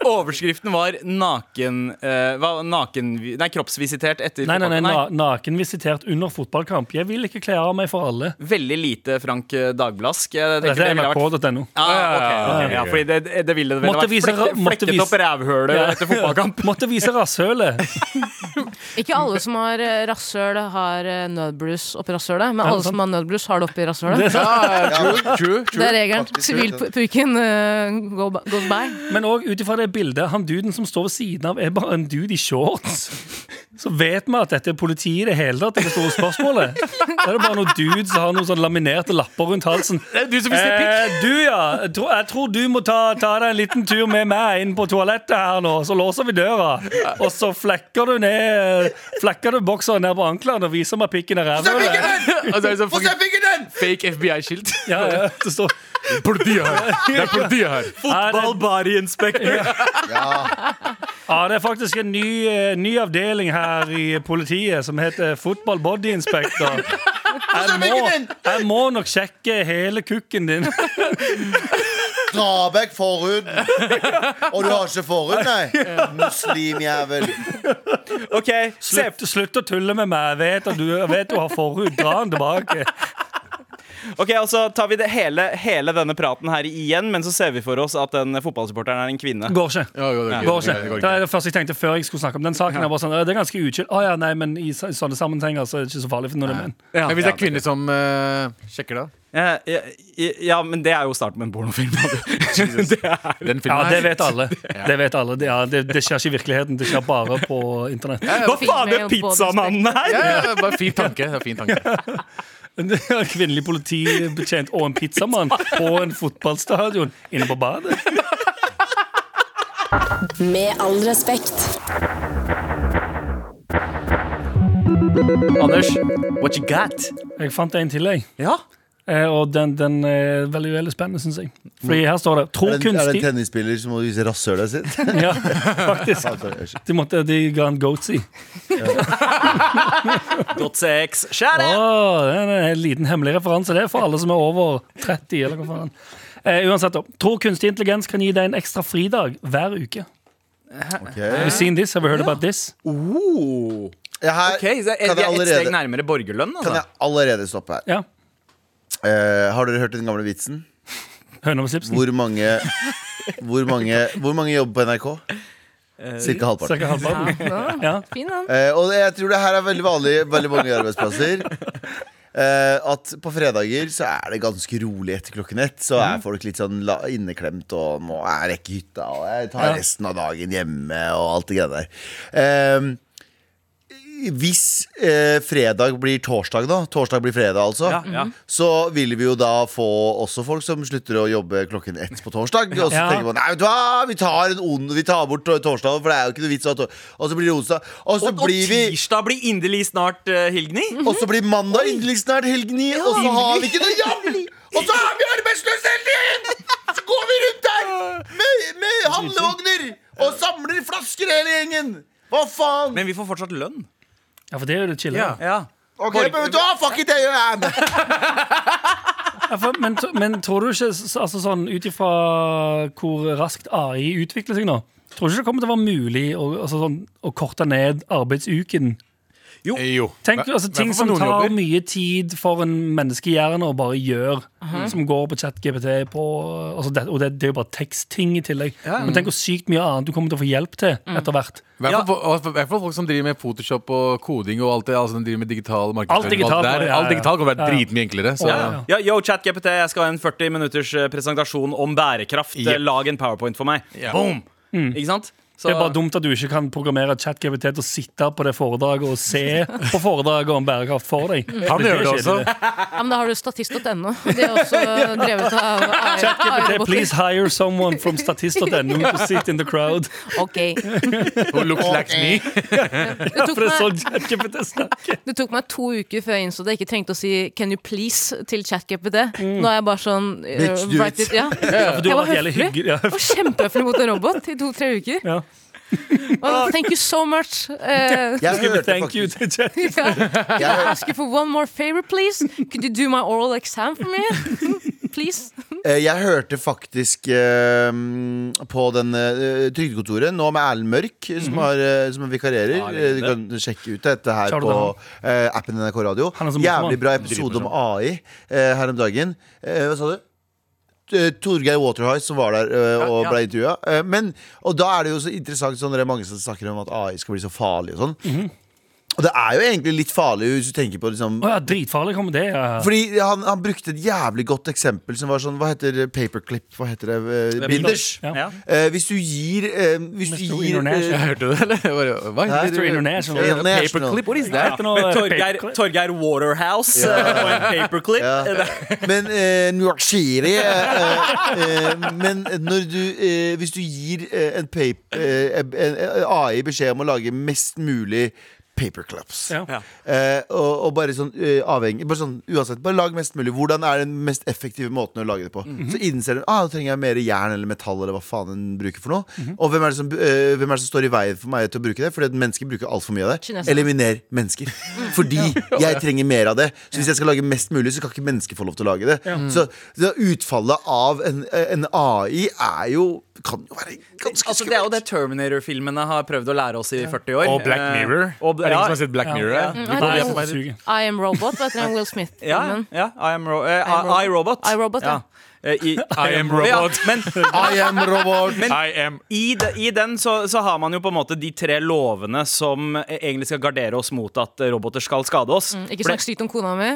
D: overskriften var naken, eh, hva- naken Nei, kroppsvisitert etter
E: Nei, nei, nei, na Nakenvisitert under fotballkamp. Jeg vil ikke kle av meg for alle.
D: Veldig lite Frank eh, Dagblask. Jeg tenker
E: Dette
D: det
E: er
D: ville vært-
E: nrk.no.
D: Ah, ok, ok, ja, fordi det, det ville det vel
E: Måtte
D: vært
E: vise-
D: flekket,
E: måtte
D: flekket
E: vise-
D: opp rævhølet
E: Ja.
D: etter fotballkamp.
E: Måtte vise rasshølet.
F: Ikke alle som har eh, rasshøl, har eh, nødbluss oppi rasshølet. Men
E: det
F: alle
E: sant?
F: som har nødbluss, har det oppi rasshølet.
G: Ja, ja, true, true,
F: Det
G: true.
F: er regelen.
B: Faktisk,
F: Sivilpuken uh, goes by.
E: Men òg ut ifra det bildet, han duden som står ved siden av, er bare en dude i shorts. Så vet vi at dette er politiet i det hele tatt, det er det store spørsmålet. Da er det bare noen dude som har noen sånn laminerte lapper rundt halsen.
G: Det er du som viser pikk.
E: Eh, du, ja. Jeg tror, jeg tror du må ta, ta deg en liten tur med meg inn på toalettet her nå. Så låser vi døra, og så flekker du ned Flekker du bokseren ned på ankelen og viser meg pikken i ræva.
G: Og så er det sånn
B: Få se
G: fucking
B: pikken din!
G: fake FBI-skilt.
E: Ja, ja. Det står
G: Politiet her! Det er politiet her!
E: Fotball
D: body inspector.
B: Ja,
E: Ja, det er faktisk en ny, eh, ny avdeling her i politiet som heter Football Body Inspector. Jeg må, jeg må nok sjekke hele kukken din.
B: dra vekk forhuden. Og du har ikke forhud, nei? Muslimjævel.
D: Ok, se
E: Slutt, slutt å tulle med meg. Jeg vet at du, jeg vet du har forhud. Dra den tilbake.
D: Ok, og så tar vi det hele, hele denne praten her igjen, men så ser vi for oss at den fotballsupporteren er en kvinne.
E: Går ikke.
G: Ja, jo, det går
E: Går
G: ikke.
E: ikke.
G: Det går
E: Det
G: ikke.
E: er det første jeg tenkte før jeg skulle snakke om den saken. Jeg var sånn, «Å, det er ganske utskilt. Å ja, nei, men i så- i sånne sammenhenger så er det ikke så farlig. for når det er menn.
D: Ja,
G: Men hvis det er kvinner som eh, sjekker det,
D: ja, ja, ja, men det er jo starten på en pornofilm. det er
G: da? Den
E: Ja,
G: filmen
E: det
G: her?
E: vet alle. Det vet alle. Det- Ja, det, det skjer ikke i virkeligheten. Det skjer bare på internett.
D: Hva
F: Filmer
D: faen er
F: jo på
D: pizzamannen her?!
G: Ja, ja, bare fin tanke. Det er fin tanke.
E: Kvinnelig politibetjent og en pizzamann på en fotballstadion inne på badet.
C: Med all respekt.
D: Anders, what you got?
E: Jeg fant en til, jeg.
D: Ja,
E: Eh, Og den, den er veldig veldig spennende, syns jeg. Fordi her står det 'Tror
B: Er det, er det en
E: kunstig
B: tennisspiller som må vise rasshølet sitt?
E: Ja, faktisk. De, måtte, de ga en goatsy.
D: Godt sex. Skjær det!
E: Åh, det er en liten hemmelig referanse Det er for alle som er over 30 eller hva faen eh, Uansett da Tror kunstig intelligens kan gi deg en ekstra fridag hver uke Have you seen this? Have you heard about this?
D: Oh.
B: Ja, her
D: Ok, så er
B: kan, jeg
D: det ett steg
B: allerede,
D: nærmere borgerlønn.
B: kan
D: Altså.
B: jeg allerede stoppe her.
E: Ja,
B: Eh, har dere hørt den gamle vitsen?
E: høna med slipsen
B: Hvor mange, hvor mange, hvor mange jobber på NRK? Cirka halvparten.
E: Cirka halvparten Ja,
F: Fin, den.
B: Eh, og jeg tror det her er veldig vanlig veldig mange arbeidsplasser. Eh, at på fredager så er det ganske rolig etter klokken ett. Så er folk litt sånn la, inneklemt og må jeg rekke hytta og jeg tar
E: Ja.
B: resten av dagen hjemme og alt det greiene der. Eh, hvis eh, fredag blir torsdag, da, torsdag blir fredag altså,
D: Ja, ja.
B: så vil vi jo da få også folk som slutter å jobbe klokken ett på torsdag. Og så
E: Ja.
B: tenker man nei, vet du hva, vi tar, en ond, vi tar bort torsdag, for det er jo ikke noe vits. å ha tor- Og så blir det onsdag. Og så
D: Og, og
B: blir vi
D: tirsdag blir inderlig snart uh, Hilgni.
B: og så blir mandag endelig snart helgen i, og så har vi ikke noe jobb! Og så er vi arbeidsløse hele tiden! Så går vi rundt her med, med handlevogner og samler flasker hele gjengen! Hva faen?
D: Men vi får fortsatt lønn.
E: ja for det er jo det chille
G: Ja.
D: Ja.
B: Ok, men vet du hva? Fuck it, jeg gjør det!
E: ja, for, men, tro- men tror du ikke s- altså, sånn, Ut ifra hvor raskt AI utvikler seg nå Tror du ikke det kommer til å være mulig Å, altså, sånn, å korte ned arbeidsuken
G: Eh, Jo.
E: Tenk,
G: Hver-
E: altså, ting
G: hvertfall
E: som
G: for noen
E: tar
G: jobber.
E: mye tid for en menneskehjerne å bare gjøre, som går på chat-GPT på altså det, Og det, det er jo bare tekstting i tillegg. Men tenk hvor sykt mye annet du kommer til å få hjelp til etter hvert.
G: Hvertfall for- og for- hvertfall folk som driver med Photoshop og koding og alt det. Altså, de driver med digital markedsføring. og
E: digitalt,
G: alt, det der.
E: ja, ja, ja.
G: alt digitalt kommer til å
E: Ja, ja.
G: være dritmye enklere. Så.
E: Ja, ja, ja.
D: Ja, yo, ChatGPT, jeg skal ha en 40 minutters eh, presentasjon om bærekraft.
G: Yep.
D: Lag en powerpoint for meg. Boom! Ikke sant? Så-
E: Det er bare dumt at du ikke kan programmere ChatGPT til å sitte på det foredraget og se på foredraget om bærekraft for deg.
G: Han gjør det også.
F: Ja, men da har du statist.no. Det er også drevet av AI-roboter.
E: ChatGPT, please hire someone from statist.no to sit in the crowd.
F: Ok.
G: Who looks like me?
F: Det tok,
E: For det er
F: meg,
E: sånn ChatGPT snakker.
F: det tok meg to uker før jeg innså det. Jeg ikke trengte å si 'can you please' til ChatGPT. Nå er jeg bare sånn eh,
B: Bitch, do
F: write
B: it.
F: it- Ja.
E: For du
F: Jeg
E: har
F: var
E: vært jævlig
F: høflig.
E: hyggelig. Ja.
F: Og kjempehøflig mot en robot i to-tre uker.
E: Ja.
F: Oh, thank you so much. Eh,
B: Jeg hørte
E: Thank you
B: faktisk
E: to Chat.
B: jeg, hørte-
F: ask you for one more favor, please. Could you do my oral exam for me? Please.
B: eh, jeg hørte faktisk eh, på den eh, Trygdekontoret, nå med Erlend Mørk,
E: Mhm.
B: som, har, eh, som vikarierer.
D: Ja,
B: Eh, du
D: legende.
B: kan sjekke ut dette her
E: Kjør du
B: på eh, appen NRK Radio.
E: Han er så morsom, han.
B: Jævlig bra episode om
E: sånn.
B: AI eh, her om dagen. Eh, hva sa du? T- Torgeir Waterhouse som var der eh, og ble intervjua. Eh, men- Og da er det jo så interessant sånn, det er mange som snakker om at AI skal bli så farlig og sånn. Og det er jo egentlig litt farlig hvis du tenker på liksom,
E: Mhm. Å ja, dritfarlig kommer det. Ja.
B: fordi han, han brukte et jævlig godt eksempel som var sånn Hva heter det? paperclip? Hva heter det? Eh, Binders.
E: Ja.
D: Ja.
B: Eh, hvis du gir eh, Hvis du
E: Mr.
B: gir
E: International.
B: eh,
G: Hørte du det, eller? Bare, Hva?
B: Hæ?
E: Mr. International.
G: Paperclip? What is that?
E: Etter noe
D: Torgeir,
E: paperclip.
D: Torgeir Waterhouse eh, og en paperclip.
B: Ja. Men eh, New York City eh, eh, eh, Men når du eh, Hvis du gir eh, en, pap, eh, en, en AI beskjed om å lage mest mulig paperclips
E: Ja.
D: Ja.
B: Eh, og, og bare sånn eh, avhengig bare sånn, Uansett, bare lag mest mulig. Hvordan er den mest effektive måten å lage det på? Så innser du ah, da trenger jeg mer jern eller metall eller hva faen den bruker for noe. Og hvem er, det som, eh, hvem er det som står i veien for meg til å bruke det? Fordi at mennesker bruker altfor mye av det.
F: Kineserne.
B: Eliminer mennesker.
D: Mhm.
B: Fordi jeg trenger mer av det. Så hvis jeg skal lage mest mulig, så kan ikke mennesker få lov til å lage det. Så, så utfallet av en, en AI er jo kan jo være ganske
D: Altså, det er jo det Terminator-filmene har prøvd å lære oss i 40 år.
J: Og Black
D: Eh,
J: Mirror.
D: og-
J: er det
D: ja.
J: ingen som har sett Black
E: Ja.
J: Mirror?
D: Ja.
J: eh?
F: Hva
E: Nei,
F: heter
E: jeg
F: den?
E: bare suger.
F: I Am Robot, hva heter den Will Smith-filmen?
D: Ja, ja, I am ro eh,
F: Robot.
D: I, I Robot.
F: I, Robot, ja.
D: Eh, I,
J: I am robot.
D: Ja, men
B: I am robot.
J: I am
D: I, de, I den så, så har man jo på en måte de tre lovene som eh, egentlig skal gardere oss mot at eh, roboter skal skade oss.
F: Ikke snakk stygt om kona mi.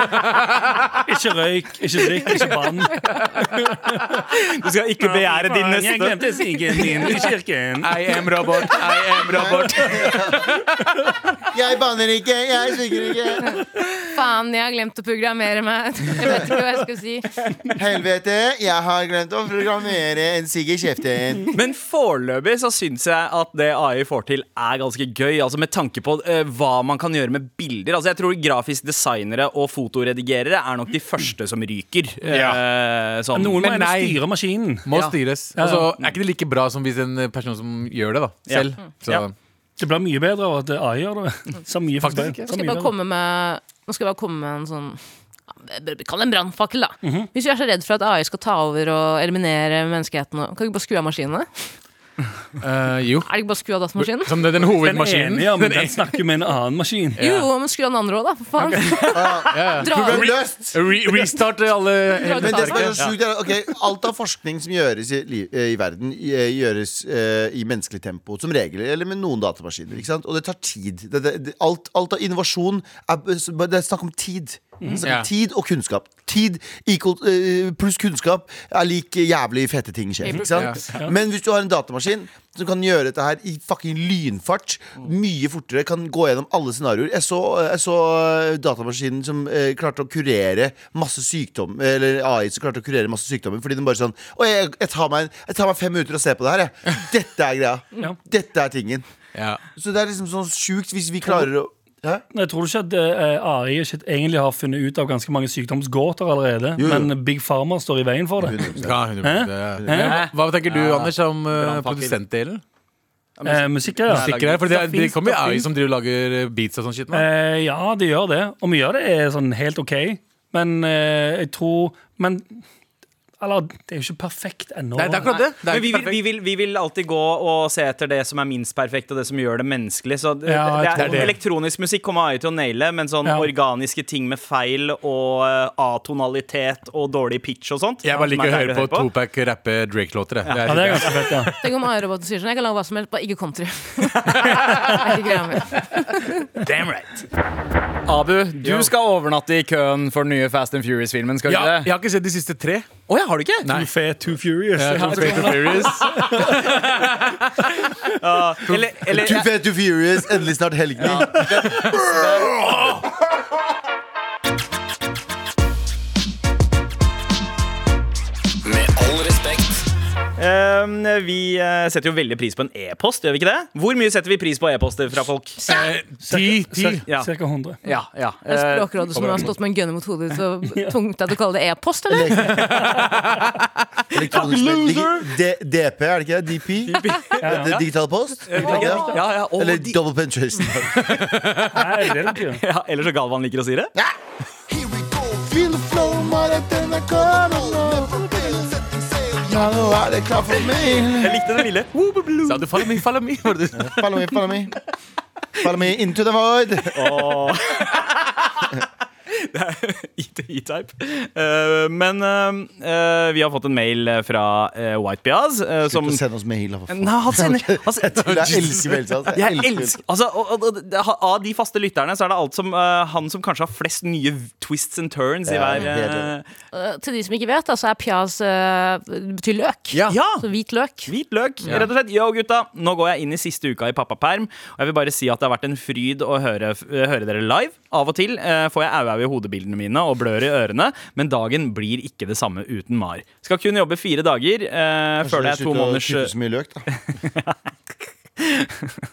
E: Ikke røyk, ikke drikk, ikke bann.
D: Du skal ikke begjære din
E: Jeg
D: neste.
E: glemte siggen din i kirken.
J: I am robot, I am robot.
B: Jeg banner ikke, jeg sviker ikke.
F: Faen, jeg har glemt å programmere meg. Jeg vet ikke hva jeg skal si.
E: Sånn
B: Helvete, jeg har glemt å programmere en sigg i kjeften.
D: Men foreløpig så syns jeg at det AI får til, er ganske gøy. Altså Med tanke på eh, hva man kan gjøre med bilder. Altså Jeg tror grafisk designere og fotoredigerere er nok de første som ryker. eh, sånn.
E: Noen må
G: Men
E: gjerne
G: nei.
E: styre maskinen.
G: Må
D: Ja.
G: styres. Altså, er ikke det like bra som hvis en person som gjør det, da?
D: Ja.
G: Selv. Så,
D: Ja.
E: Det blir mye bedre av at AI gjør det. Så mye for
G: Faktisk
E: seg.
F: Nå skal jeg bare komme med, nå skal jeg bare komme med en sånn ja, det- Kall det en brannfakkel, da.
E: Mhm.
F: Hvis vi er så redd for at AI skal ta over og eliminere menneskeheten, og- kan vi ikke bare skru av maskinene?
G: eh, jo.
F: Er det ikke bare skru av datamaskinen?
G: Som det, den
E: Den
G: hovedmaskinen.
E: ene, ja, men den snakker med en annen maskin.
F: Jo, men skru av den andre òg, da, for faen.
G: Ja, ja.
F: Dra
B: Problem løst.
G: Re restart alle
B: Men det som er så sjukt er at ok, alt av forskning som gjøres i, liv, eh, i verden, i- eh, gjøres eh, i menneskelig tempo, som regel, eller med noen datamaskiner. Ikke sant? Og det tar tid. Det, det, det, alt, alt av innovasjon er, Det er snakk om tid. Det er snakk
G: Ja.
B: om Tid og kunnskap. Tid equal, eh, pluss kunnskap er lik jævlig fete ting skjer. Ikke sant? Men hvis du har en datamaskin som kan gjøre dette her i fucking lynfart, mye fortere, kan gå gjennom alle scenarioer Jeg så, jeg så eh, datamaskinen som eh, klarte å kurere masse sykdom Eller AI som klarte å kurere masse sykdommer fordi den bare sånn Å, jeg, jeg, tar meg, en- jeg tar meg fem minutter og ser på det her, jeg. Dette er greia.
E: Ja.
B: Dette er tingen.
G: Ja.
B: Så det er liksom sånn sjukt hvis vi klarer å Hæ?
E: Jeg tror du ikke at eh, AI ikke egentlig har funnet ut av ganske mange sykdomsgåter allerede.
B: Jo, jo.
E: Men Big Pharma står i veien for det.
G: Ja, 100%, ja.
E: Hæ?
G: Hva tenker du, Anders, om eh,
D: Brannfakkel.
G: produsentdelen?
E: Eh, musikker, ja.
G: Stikker der, for det, er- det
E: Stoffing,
G: kommer jo
E: stoffing.
G: AI som driver og lager beats og sånn shit nå.
E: Eh, ja, det gjør det. Og mye av det er sånn helt OK. Men eh, jeg tror Men Eller, det er jo ikke perfekt ennå.
G: Nei, det er akkurat det. det er
D: Men vi
G: ikke
D: vil, vi,
G: perfekt.
D: vil, vi vil alltid gå og se etter det som er minst perfekt, og det som gjør det menneskelig. Så det,
E: Ja,
D: det
E: jeg
D: er,
E: tror det.
D: Elektronisk musikk kommer AI til å naile, men sånn
E: Ja.
D: organiske ting med feil og eh, atonalitet og dårlig pitch og sånt
G: Jeg bare
D: som
G: liker
D: er
G: å
D: deilig
G: høre på Topac rappe Drake-låter. jeg. Det er
E: Ja, det er
G: litt-
E: ganske fett, ja.
F: Tenk om AI-roboten sier sånn Jeg kan lage hva som helst, bare ikke country. Det er ikke greia mi.
D: Damn right. Abu, du skal overnatte i køen for den nye Fast and Furious-filmen, skal du
G: Ja,
D: ikke
G: jeg
D: det?
G: har ikke sett de siste tre.
D: Å ja, har du ikke?
G: Nei.
E: Too Fair, Too Furious.
G: Jeg har sett Fate of Furious.
D: Eller, eller,
B: Too fat, too furious. Endelig snart helgen.
H: Med all respekt.
D: Ehm, vi eh, setter jo veldig pris på en e-post, gjør vi ikke det? Hvor mye setter vi pris på e-poster fra folk?
G: Eh, Ti, ti.
D: Ja.
E: Cirka 100.
D: Ja, ja
F: Det er
D: eh,
F: Språkrådet som har stått med en gunner mot hodet ditt, så tungt at du kaller det e-post, eller?
B: Elektronisk D- DP, er det ikke det? DP? D- Digital post? Er det ikke det?
D: ja, ja, og
B: Eller
D: de,
B: double penetration.
E: Nei, det er det ikke.
D: ja, Eller så Galvan liker å si det.
B: Feel the flow, maraton er kommet nå. Ja, nå er det klart for meg.
D: Jeg likte det lille.
G: Sa du 'follow me, follow me'? var det du sa?
B: Follow me, follow me. Follow me into the void.
D: E-type. Eh, men eh, eh, vi har fått en mail fra eh, White Biaz. eh, som
B: Slutt å sende oss mail. da, for faen.
D: Nei, han sender han sender-
B: Jeg elsker mail. sant?
D: Jeg
B: mail.
D: elsker altså, og, og, og, det- Av de faste lytterne så er det alt som eh, han som kanskje har flest nye twists and turns i
B: Ja,
D: hver
B: helt
D: eh,
F: Eh, Til de som ikke vet, da, så er pias eh, det betyr løk.
G: Ja.
D: Ja!
F: Så hvit løk.
D: Hvit løk, rett og slett. Yo, gutta. Nå går jeg inn i siste uka i pappaperm. Og jeg vil bare si at det har vært en fryd å høre, eh, høre dere live. Av og til eh, får jeg au-au i hodebildene mine og blør i ørene, men dagen blir ikke det samme uten Mar. Skal kun jobbe fire dager eh,
B: Kanskje
D: før
B: slutter
D: det er to
B: å kutte
D: måneders
B: så eh, mye løk, da.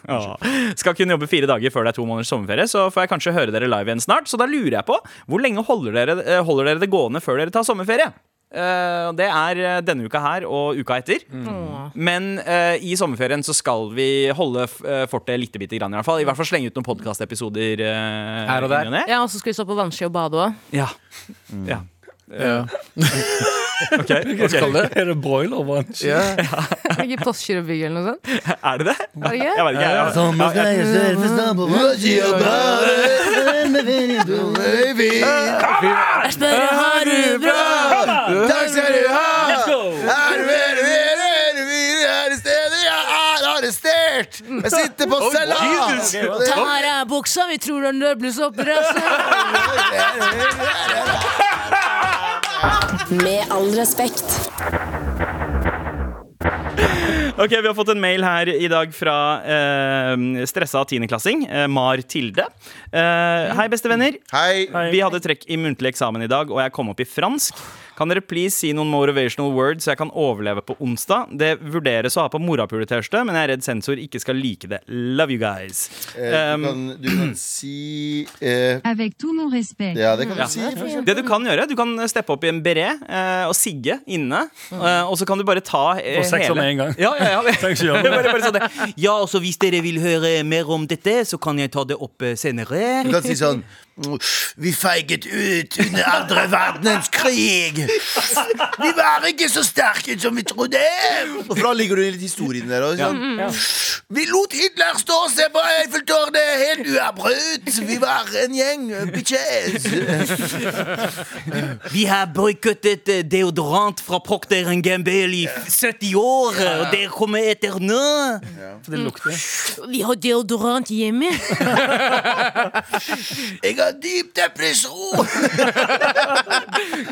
D: Ja. Skal kun jobbe fire dager før det er to måneders sommerferie, så får jeg kanskje høre dere live igjen snart. Så da lurer jeg på, hvor lenge holder dere, eh, holder dere det gående før dere tar sommerferie? Eh, det er eh, denne uka her og uka etter.
B: Mm.
D: Men eh, i sommerferien så skal vi holde f- eh, fortet lite bitte grann, i hvert fall. I hvert fall slenge ut noen podkastepisoder uh,
G: Her og der. Mm.
F: Ja, og så skal vi stå på vannski og bade òg.
D: Ja. ja.
G: Ja.
D: Ok, ok.
E: Er det broilerbransje?
F: Er det ikke Porsgrunn og Bygg eller noe sånt?
D: Er det det?
F: Er det ikke?
D: Jeg vet ikke. Jeg, jeg,
B: Thomas Geir Sørfestad på Hva sier jeg bare? Med venner du er fin.
F: Jeg spør, har du bra?
B: Takk skal du
E: Let's
B: ha!
E: go!
B: Er du er du er du er du er arrestert? Jeg er arrestert! Jeg sitter på cella!
D: Jesus.
F: Ta her er buksa, vi tror den løpes opp altså. i rasset.
C: Med all respekt.
D: Ok, Vi har fått en mail her i dag fra eh, stressa tiendeklassing, eh, Mar Tilde. Eh, hei, bestevenner.
B: Hei.
D: Vi hadde trekk i muntlig eksamen i dag, og jeg kom opp i fransk. Kan dere please si noen motivational words så jeg kan overleve på onsdag? Det vurderes å ha på morapule tirsdag, men jeg er redd sensor ikke skal like det. Love you guys.
B: Eh, Du
D: Um,
B: kan, du kan si eh,
I: Avec tout mon respect.
B: Ja, det kan
D: Ja.
B: du si. for eksempel.
D: Det du kan gjøre, du kan steppe opp i en beret eh, og sigge inne. eh, og så kan du bare ta eh,
E: Få sex om
D: hele-
E: en gang.
D: Ja, ja, ja.
E: Trenger ikke gjøre det.
D: bare, bare sånn det. ja, og så hvis dere vil høre mer om dette, så kan jeg ta det opp eh, senere.
B: Du kan si sånn Vi feiget ut under andre verdenskrig. Vi var ikke så sterke som vi trodde. Og for da ligger du i litt historien der også, sånn. Vi lot Hitler stå og se på Eiffeltårnet helt uavbrutt. Vi var en gjeng eh, bitches.
D: Vi har boikottet eh, deodorant fra Procter Gamble i 70 år, eh, og dere kommer etter nå.
E: For det lukter.
F: Vi har deodorant hjemme.
B: Jeg har dyp depresjon.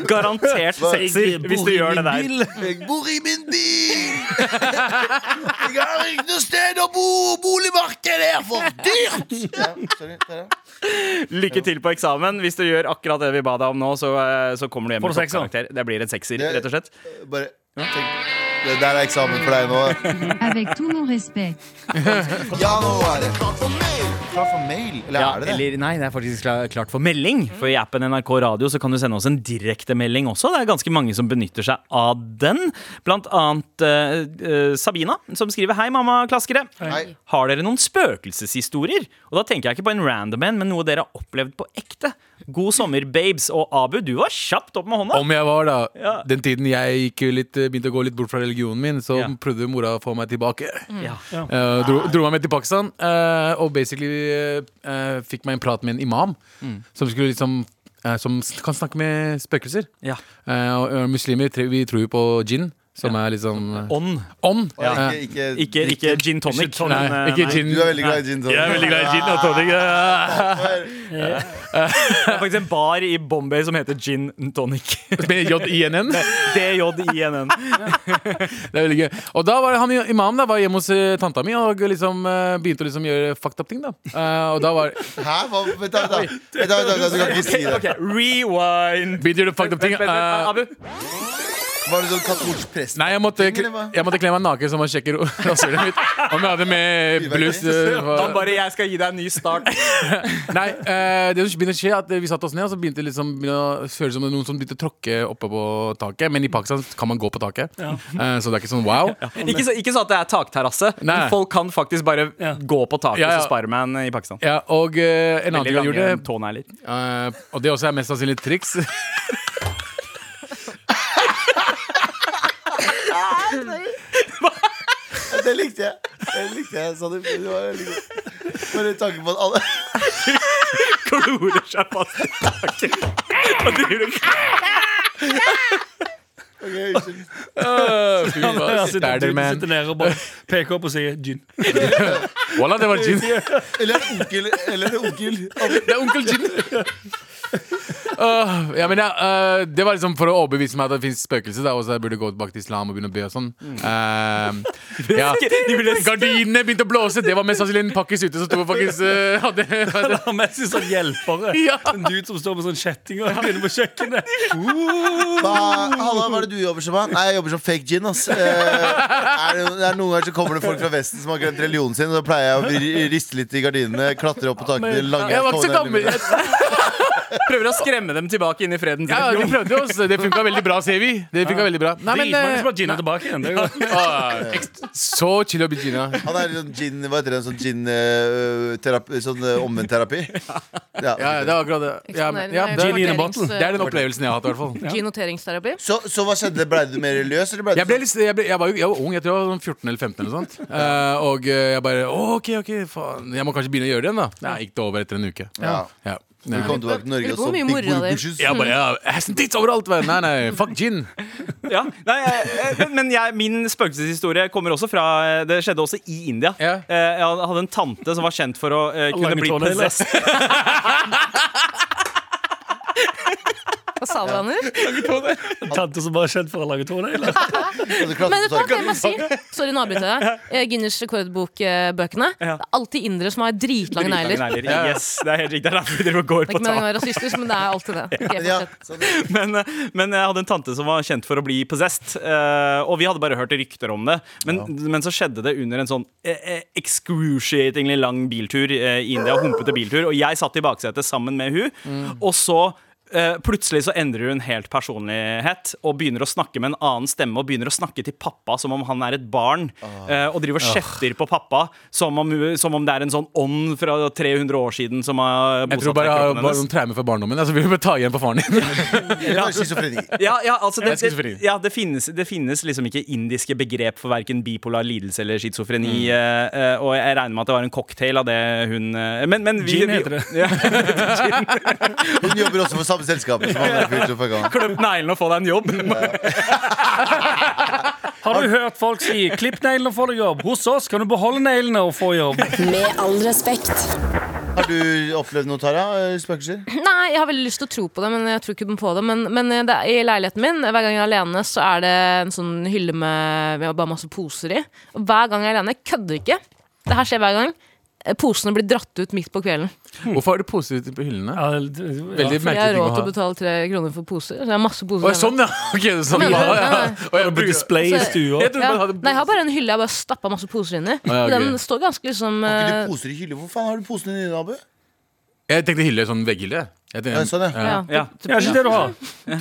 D: Garantert sekser hvis du gjør det der.
B: Jeg bor i min bil. Jeg har ikke noe sted å bo. Boligmarkedet er for dyrt. Ja, sorry, Tara.
D: Lykke til på eksamen. Hvis du gjør akkurat det vi ba deg om nå, så, eh, så kommer du hjem
E: Får
D: med
E: du sekser?
D: toppkarakter. Det blir en sekser,
B: Det-
D: rett og slett.
B: Bare tenk. Det der er eksamen for deg nå.
I: Avec tout mon respect.
B: Ja, nå er det Klart for mail! Klart for mail. Eller
D: Ja,
B: er det det?
D: eller nei, det er faktisk kla- klart for melding. For i appen NRK Radio så kan du sende oss en direktemelding også. Det er ganske mange som benytter seg av den. Blant annet eh, eh, Sabina, som skriver Hei, mamma-klaskere.
B: Hei.
D: Har dere noen spøkelseshistorier? Og da tenker jeg ikke på en random en, men noe dere har opplevd på ekte. God sommer, babes. Og Abu, du var kjapt opp med hånda.
G: Om jeg var da
D: Ja.
G: Den tiden jeg gikk litt, eh, begynte å gå litt bort fra religionen min, så
D: Ja. Mm.
G: prøvde mora å få meg tilbake.
D: Ja.
G: Eh, dro, dro meg med til Pakistan eh, og basically eh, eh, fikk meg en prat med en imam
D: Mm.
G: som skulle liksom eh, Som s- kan snakke med spøkelser.
D: Ja.
G: Eh, og, og muslimer tre- vi tror jo på gin, som er liksom eh,
D: Ånd.
G: ånd.
B: Ja,
G: Eh,
B: Ikke, ikke,
D: Ikke, ikke gin tonic.
E: Ikke tonic.
G: nei,
D: men, eh,
G: ikke
D: nei.
G: gin.
B: Du er veldig glad i gin tonic.
E: Jeg er veldig glad i gin altså. og tonic. eh.
D: Det er faktisk en bar i Bombay som heter Gin and Tonic.
G: Med J-I-N-N.
D: DJINN.
G: Det er veldig gøy. Og da var han i- imam da, var hjemme hos eh, tanta mi og liksom, eh, begynte å liksom gjøre fucked up ting. da Eh, Og da var
B: Hæ? Hva? Vent, da, vent, da. Vent, da, vent, da, Du kan ikke si det.
D: Ok, rewind.
G: Begynte å gjøre fucked up ting.
D: Vent, vent, vent,
G: eh,
D: Abu.
B: Var det sånn katolsk prest?
G: Nei, jeg måtte,
B: Ting, eller hva?
G: jeg måtte kle meg naken så man sjekker rasshølet mitt. Om jeg hadde med blues eh,
D: Han
G: hva-
D: bare 'jeg skal gi deg en ny start'.
G: Nei, eh, det som begynte å skje er at vi satte oss ned, og så begynte det liksom begynte å føles som om noen som begynte å tråkke oppe på taket. Men i Pakistan kan man gå på taket, Eh, så det er ikke sånn wow.
D: Ikke, så, ikke så at det er takterrasse, men
G: Nei.
D: folk kan faktisk bare gå på taket
G: Ja, ja.
D: hos Sparman i Pakistan.
G: Ja, og eh, en annen
D: Veldig
G: ting jeg
D: lange
G: gjorde,
D: tånegler.
G: eh, og det også er mest sannsynlig et triks
B: Det likte jeg. Det likte jeg. Sa det, det var veldig godt. Bare tanken på at alle
D: Klorer seg fast i taket. Og driver og
B: Ok, unnskyld.
G: Øh, fy faen,
E: Ja, sitter,
G: stæler,
E: du
G: man.
E: sitter nede og bare peker opp og sier gin.
G: Wallah, det var gin.
B: Eller er det onkel? Eller er det onkel?
G: Det er onkel gin. Øh, ja, men ja, øh, det var liksom for å overbevise meg at det fins spøkelser, da, og så jeg burde gå tilbake til islam og begynne å be og sånn. Eh, ja. Gardinene begynte å blåse, det var mest sannsynlig en pakkis ute som sto og faktisk øh, hadde, hadde
E: Eller mest en sånn hjelpere.
G: Ja.
E: En dude som står med sånn kjetting og begynner på kjøkkenet.
B: Hva, Halla, hva er det du jobber som? da? Nei, jeg jobber som fake gin. ass Eh, er det, det er Noen ganger så kommer det folk fra Vesten som har glemt religionen sin, og da pleier jeg å ri- riste litt i gardinene, klatre opp på taket.
G: Jeg var ikke så gammel. Jeg
D: prøver å skremme gjemme dem tilbake inn i freden.
G: Ja, ja, vi prøvde oss. Det funka veldig bra, ser vi. Det funket veldig bra. Nei, men,
E: Dritmange
G: eh,
E: som har Gina tilbake igjen. Det er jo-
G: ah, ekst- så chill å bli Gina.
B: Han er sånn gin, hva heter det, sånn gin eh, terapi, Sånn eh, omvendt terapi ja.
G: Ja, ja, det er akkurat det. Ja, men- ja, det,
E: Gin i
G: er-
E: en bottle.
G: det er den opplevelsen jeg har hatt, i hvert fall.
F: G-noteringsterapi.
B: så, så hva skjedde? Ble du mer løs? Eller ble du sånn?
G: Jeg, ble litt, jeg, ble, jeg, var jo, jeg var ung, jeg tror jeg var sånn 14 eller 15 eller sånt. Eh, og eh, jeg bare Å, OK, OK, faen. Jeg må kanskje begynne å gjøre det igjen, da. Nei, gikk det over etter en uke.
B: ja.
G: Ja.
B: Du kom tilbake til Norge og
F: Lurer på
B: så
F: hvor mye
B: big
F: moro
B: booty
F: det er.
B: bushes
G: Jeg bare, ja, ass and tits overalt! vel. Nei, nei, fuck gin.
D: Ja, nei, jeg- jeg- men jeg, min spøkelseshistorie kommer også fra eh, Det skjedde også i India.
G: Ja.
D: Eh, Jeg hadde en tante som var kjent for å eh, kunne
E: Lange
D: bli
E: tånegler.
D: possessed.
F: Hva sa du, Anders?
E: Tante som bare er kjent for å lage
B: Og
E: tånegler.
B: så klatret
F: Men
B: du
F: vet du hva,
B: tak.
F: kan jeg bare si? Sorry, nå avbryter jeg. deg. Eh, Guinness rekordbok-bøkene. Det
D: Ja.
F: er alltid indere som har dritlange
D: Dritlange
F: negler.
D: negler. Yes, det er helt riktig. Det er derfor vi driver og går
F: Det er
D: på
F: ikke meningen å
D: tak.
F: være rasistisk, men det er alltid det. Ok,
B: ja,
F: fortsett.
B: så det,
D: Men, eh, men jeg hadde en tante som var kjent for å bli possessed. eh, Og vi hadde bare hørt rykter om det. Men, men så skjedde det under en sånn eh, eh, excruciatingly lang biltur eh, i India. Humpete biltur. Og jeg satt i baksetet sammen med hun.
G: Mm.
D: Og så eh, Plutselig så endrer hun helt personlighet og begynner å snakke med en annen stemme. Og begynner å snakke til pappa som om han er et barn,
G: Ah.
D: eh, og driver og kjefter på pappa som om, som om det er en sånn ånd fra 300 år siden som har
G: Jeg tror
D: bosatt seg i
G: bare jeg har
D: kroppen
G: bare
D: hennes.
G: noen traumer fra barndommen. Altså, vi må bare ta igjen på faren din.
B: det var schizofreni.
D: Ja, ja, altså det,
G: Jeg er
D: det,
G: schizofren.
D: ja det, finnes, det finnes liksom ikke indiske begrep for verken bipolar lidelse eller schizofreni. eh, eh, og jeg regner med at det var en cocktail av det hun eh, men, men vi,
E: Gin
D: vi-
E: heter det.
D: Ja,
B: Hun jobber også for samme selskap som han der fyren som fucka han.
D: Kløp neglene og få deg en jobb.
E: Har du hørt folk si 'klipp neglene og få deg jobb'? Hos oss kan du beholde neglene og få jobb.
C: Med all respekt.
B: Har du opplevd noe, Tara? eh, Spøkelser?
F: Nei, jeg har veldig lyst til å tro på det, men jeg tror ikke på det. Men, men eh, det er, i leiligheten min, hver gang jeg er alene, så er det en sånn hylle med, med bare masse poser i. Og hver gang jeg er alene, jeg kødder ikke. Det her skjer hver gang. eh, Posene blir dratt ut midt på kvelden.
G: Hvorfor har du poser ute på hyllene?
E: Ja, ja.
G: Veldig
F: Jeg
G: merkelig
F: har
G: ting å
F: råd til å
G: ha.
F: betale tre kroner for poser. Så jeg har masse poser.
G: Å,
F: hjemme.
G: sånn, ja! Ok, det er sånn,
F: Men-
G: ja, ja.
F: Nei,
G: Og jeg bruker
E: Display i stua.
G: Jeg tror
F: ja.
G: bare hadde
F: Nei, jeg har bare en hylle jeg har bare stappa masse poser inn i.
G: ja,
F: Den
G: ok.
F: står ganske liksom
B: Har ikke
F: eh,
B: du poser i hylle? Hvor faen har du posene dine, Abu?
G: Jeg tenkte hylle, sånn vegghylle. Jeg
B: Ja,
G: tenkte-
B: sånn, ja.
F: ja.
D: Ja.
E: Ja, ikke det du har.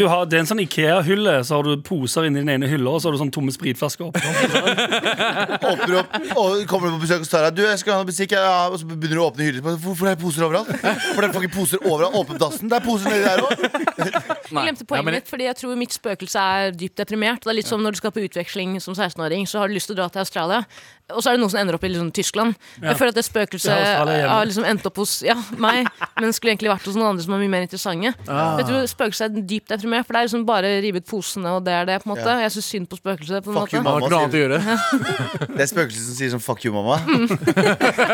E: Du har det er en sånn Ikea-hylle, så har du poser inni den ene hylla, og så har du sånn tomme spritflasker opp.
B: Åpner opp, og kommer du på besøk hos Tara Du, jeg skal ha noe bestikk ja, Og så begynner du å åpne hyller Hvorfor er det poser overalt? For det er fucking poser overalt Åpne opp dassen Det er poser nedi der også
F: Jeg glemte poenget mitt, fordi jeg tror mitt spøkelse er dypt deprimert. Det er litt som når du skal på utveksling som 16-åring, så har du lyst til å dra til Australia, og så er det noen som ender opp i liksom, Tyskland. Jeg føler at det
E: Ja,
F: spøkelset
E: Australia hjemme.
F: har liksom endt opp hos ja, meg, men skulle egentlig vært hos noen andre som er mye mer interessante. Jeg tror spøkelset er dypt deprimert, for det er liksom bare rive ut posene, og det er det, på en måte. Jeg syns synd på spøkelset, på en
B: Fuck you,
F: måte.
G: Man har ikke noe
B: mamma
G: annet
B: sier.
G: å gjøre.
B: Det er spøkelser som sier sånn Fuck you, mamma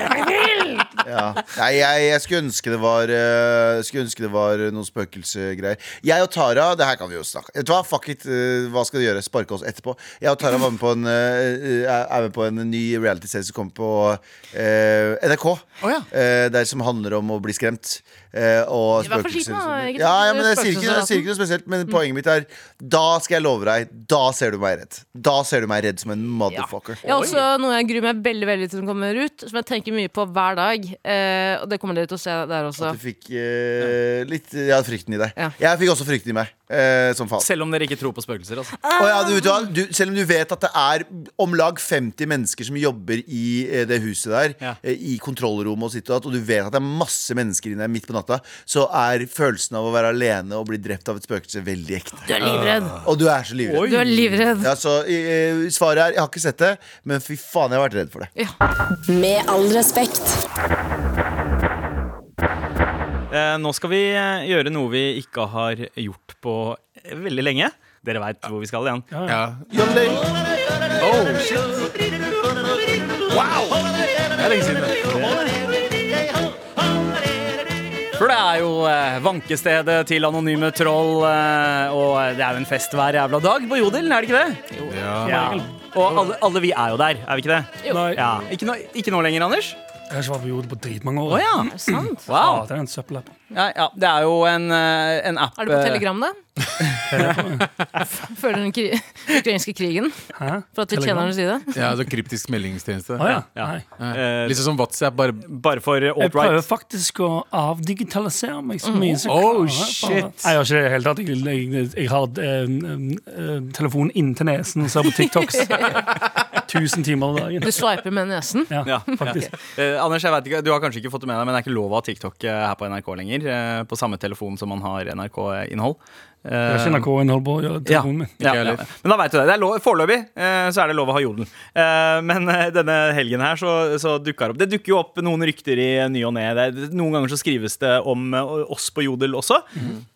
B: ja. Nei, jeg, jeg skulle ønske det var eh, Skulle ønske det var noen spøkelsegreier Jeg og Tara, det her kan vi jo snakke Vet du hva, fuck it, eh, hva skal du gjøre? Sparke oss etterpå Jeg og Tara var med på en eh, eh, Er med på en ny reality-serie som kom på eh, NRK
G: Å, ja.
B: Eh, Der som handler om å bli skremt eh, Og
F: Vær forsiktig,
B: spøkelser og
F: da.
B: sånt.
F: Ikke
B: ja,
F: sant?
B: ja, men jeg sier ikke, jeg
F: Spøkelsesraten.
B: sier ikke noe spesielt
F: Mm.
B: Men poenget mitt er Da skal jeg love deg, da ser du meg redd Da ser du meg redd som en motherfucker
F: Jeg har også noe jeg gruer meg veldig veldig til som kommer ut, som jeg tenker mye på hver dag. Eh, og det kommer dere til å se der også.
B: At du fikk eh, litt Ja, frykten i deg.
F: Ja.
B: Jeg fikk også frykten i meg. eh, som faen.
D: Selv om dere ikke tror på spøkelser. Altså.
B: Og ja, du, vet du, hva? du, selv om du vet at det er om lag 50 mennesker som jobber i eh, det huset der,
D: Ja.
B: eh, i kontrollrommet og sitt og datt, og du vet at det er masse mennesker inne der midt på natta, så er følelsen av å være alene og bli drept av et spøkelse veldig ekte.
F: Du er livredd!
B: Og du er så livredd.
F: Du er livredd.
B: Ja, så eh, svaret er jeg har ikke sett det, men fy faen, jeg har vært redd for det.
C: Med all respekt.
D: Eh, nå skal vi eh, gjøre noe vi ikke har gjort på eh, veldig lenge. Dere veit hvor vi skal igjen.
G: Ja.
D: For det er jo eh, vankestedet til anonyme troll, eh, og det er jo en fest hver jævla dag på Jodel, er det ikke det?
G: Ja.
D: Ja. Og alle, alle vi er jo der, er vi ikke det?
F: Jo.
E: Nei.
D: Ja. Ikke, nå- ikke nå lenger, Anders?
E: Jeg har ikke vært på jorda på dritmange år.
D: Å ja.
F: Er det sant?
D: Wow.
E: det er en søppelapp.
D: Ja, ja. Det er jo en, eh, en app
F: Er du på
D: eh,
F: Telegram, da? Føler den kri ukrainske krigen?
E: Hæ?
F: For at vi
E: Telegram?
F: tjener den side?
G: Ja, altså Kryptisk meldingstjeneste.
E: Å ja.
D: Ja.
E: Nei.
G: Eh, Litt sånn som WhatsApp, bare
D: eh, Bare for
E: Jeg prøver
D: alt-right.
E: faktisk å avdigitalisere meg så mye som
G: Oh,
E: jeg klarer.
G: shit.
E: Nei, Jeg gjør ikke det i det hele tatt. Jeg, jeg, jeg har eh, eh, telefonen inntil nesen og ser på TikToks 1000 timer om dagen.
F: Du sveiper med nesen?
E: Ja,
D: Ja,
E: faktisk.
D: Eh, Anders, jeg vet ikke, du har kanskje ikke fått det med deg, men det er ikke lov å ha TikTok eh, her på NRK lenger. eh, på samme telefon som man har NRK-innhold. Eh,
E: Jeg har ikke NRK-innhold på ja,
D: Ja.
E: telefonen min.
D: Ja,
G: Ikke jeg
D: ja.
G: heller.
D: Men da vet du det. det er lov, foreløpig eh, så er det lov å ha jodel. Eh, men eh, denne helgen her så, så dukker det opp Det dukker jo opp noen rykter i ny og ne. Det er- Noen ganger så skrives det om eh, oss på jodel også.
E: Mhm.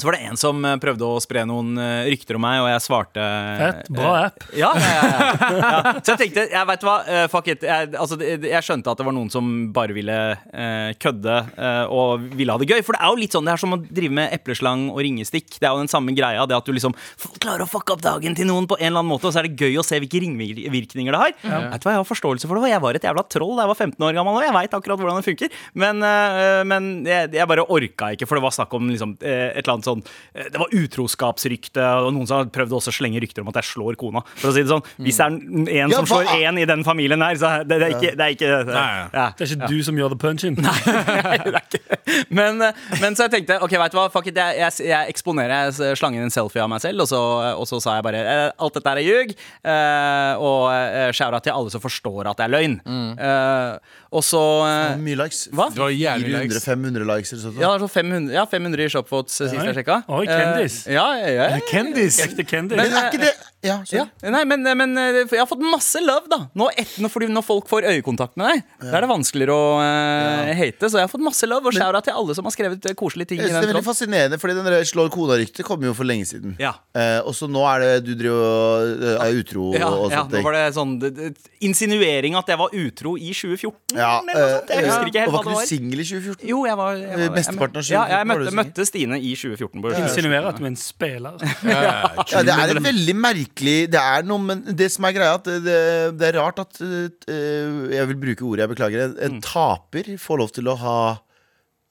D: Så var det en som eh, prøvde å spre noen eh, rykter om meg, og jeg svarte
E: Fett. Bra app.
D: ja, ja, ja, ja. ja. Så jeg tenkte, jeg vet hva, eh, fuck it jeg, altså, det- jeg skjønte at det var noen som bare ville eh, kødde eh, Og ville ha det gøy For det er jo litt sånn, det er som å drive med epleslang og ringestikk Det er jo den samme greia Det at du liksom f- klarer å fucke opp dagen til noen på en eller annen måte Og så er det gøy å se hvilke ringvirkninger det har Vet du hva, jeg har forståelse for det og Jeg var et jævla troll da jeg var 15 år gammel Og jeg vet akkurat hvordan det funker Men, eh, men jeg, jeg bare orka ikke For det var snakk om liksom, eh, et eller annet sånn eh, Det var utroskapsrykte Og noen som har prøvd også å slenge rykter om at jeg slår kona For å si det sånn Hvis det er en en
B: Ja,
D: som slår
B: hva-
D: en i den familien her Så er det, det er ikke, det er ikke
G: Nei,
D: ja.
E: Det er ikke du som gjør the punch-in.
D: Nei, det er ikke men, eh, men så jeg tenkte Ok, vet du hva, fuck it Jeg, jeg, jeg eksponerer Jeg slanger en selfie av meg selv Og så, og så sa jeg bare eh, Alt dette her er ljug eh, Og eh, skjæra til alle som forstår at det er løgn Eh, Og så eh,
B: Mye likes.
D: Hva?
G: Det var jævlig likes.
B: 400-500 likes eller sånt.
D: ja, det var sånn 500, ja, 500 i Shopvotes eh, sist jeg
E: Oi.
D: sjekka.
E: Oi, kendis.
D: Eh, ja, ja, ja, ja.
G: Kendis!
E: Ekte kendis.
B: Men er ikke det Ja, sorry.
D: Ja. Nei, men, men eh, jeg har fått masse love, da. Nå et, nå- fordi når folk får øyekontakt med deg, da er det vanskeligere å eh, hate. Så jeg har fått masse love, og skjæra til alle som har skrevet eh, koselige ting.
B: Jeg
D: i
B: synes det
D: den
B: er veldig
D: tråden.
B: fascinerende, fordi den der slår kona-ryktet kom jo for lenge siden.
D: Ja.
B: Eh, og så nå er det du driver og eh, er utro
D: Ja,
B: og
D: ja,
B: sånne
D: nå
B: ting.
D: var det sånn det, det, Insinuering at jeg var utro i 2014
B: Ja,
D: eller noe sånt. Jeg
B: eh,
D: husker ikke helt
B: og
D: hva
B: var ikke du
D: det var.
B: singel i 2014?
D: Jo, jeg var, jeg
B: Eh,
D: var jeg,
B: mesteparten av
D: mø- ja,
B: 2014 var
D: jeg
B: du
D: møtte,
B: singel.
D: møtte Stine i 2014. På
E: Insinuerer at du er en spiller.
B: Ja, det er et veldig merkelig Det er noe, men det som er greia, at det, det, det er rart at eh, Jeg vil bruke ordet, jeg beklager. En,
E: Mm.
B: en taper får lov til å ha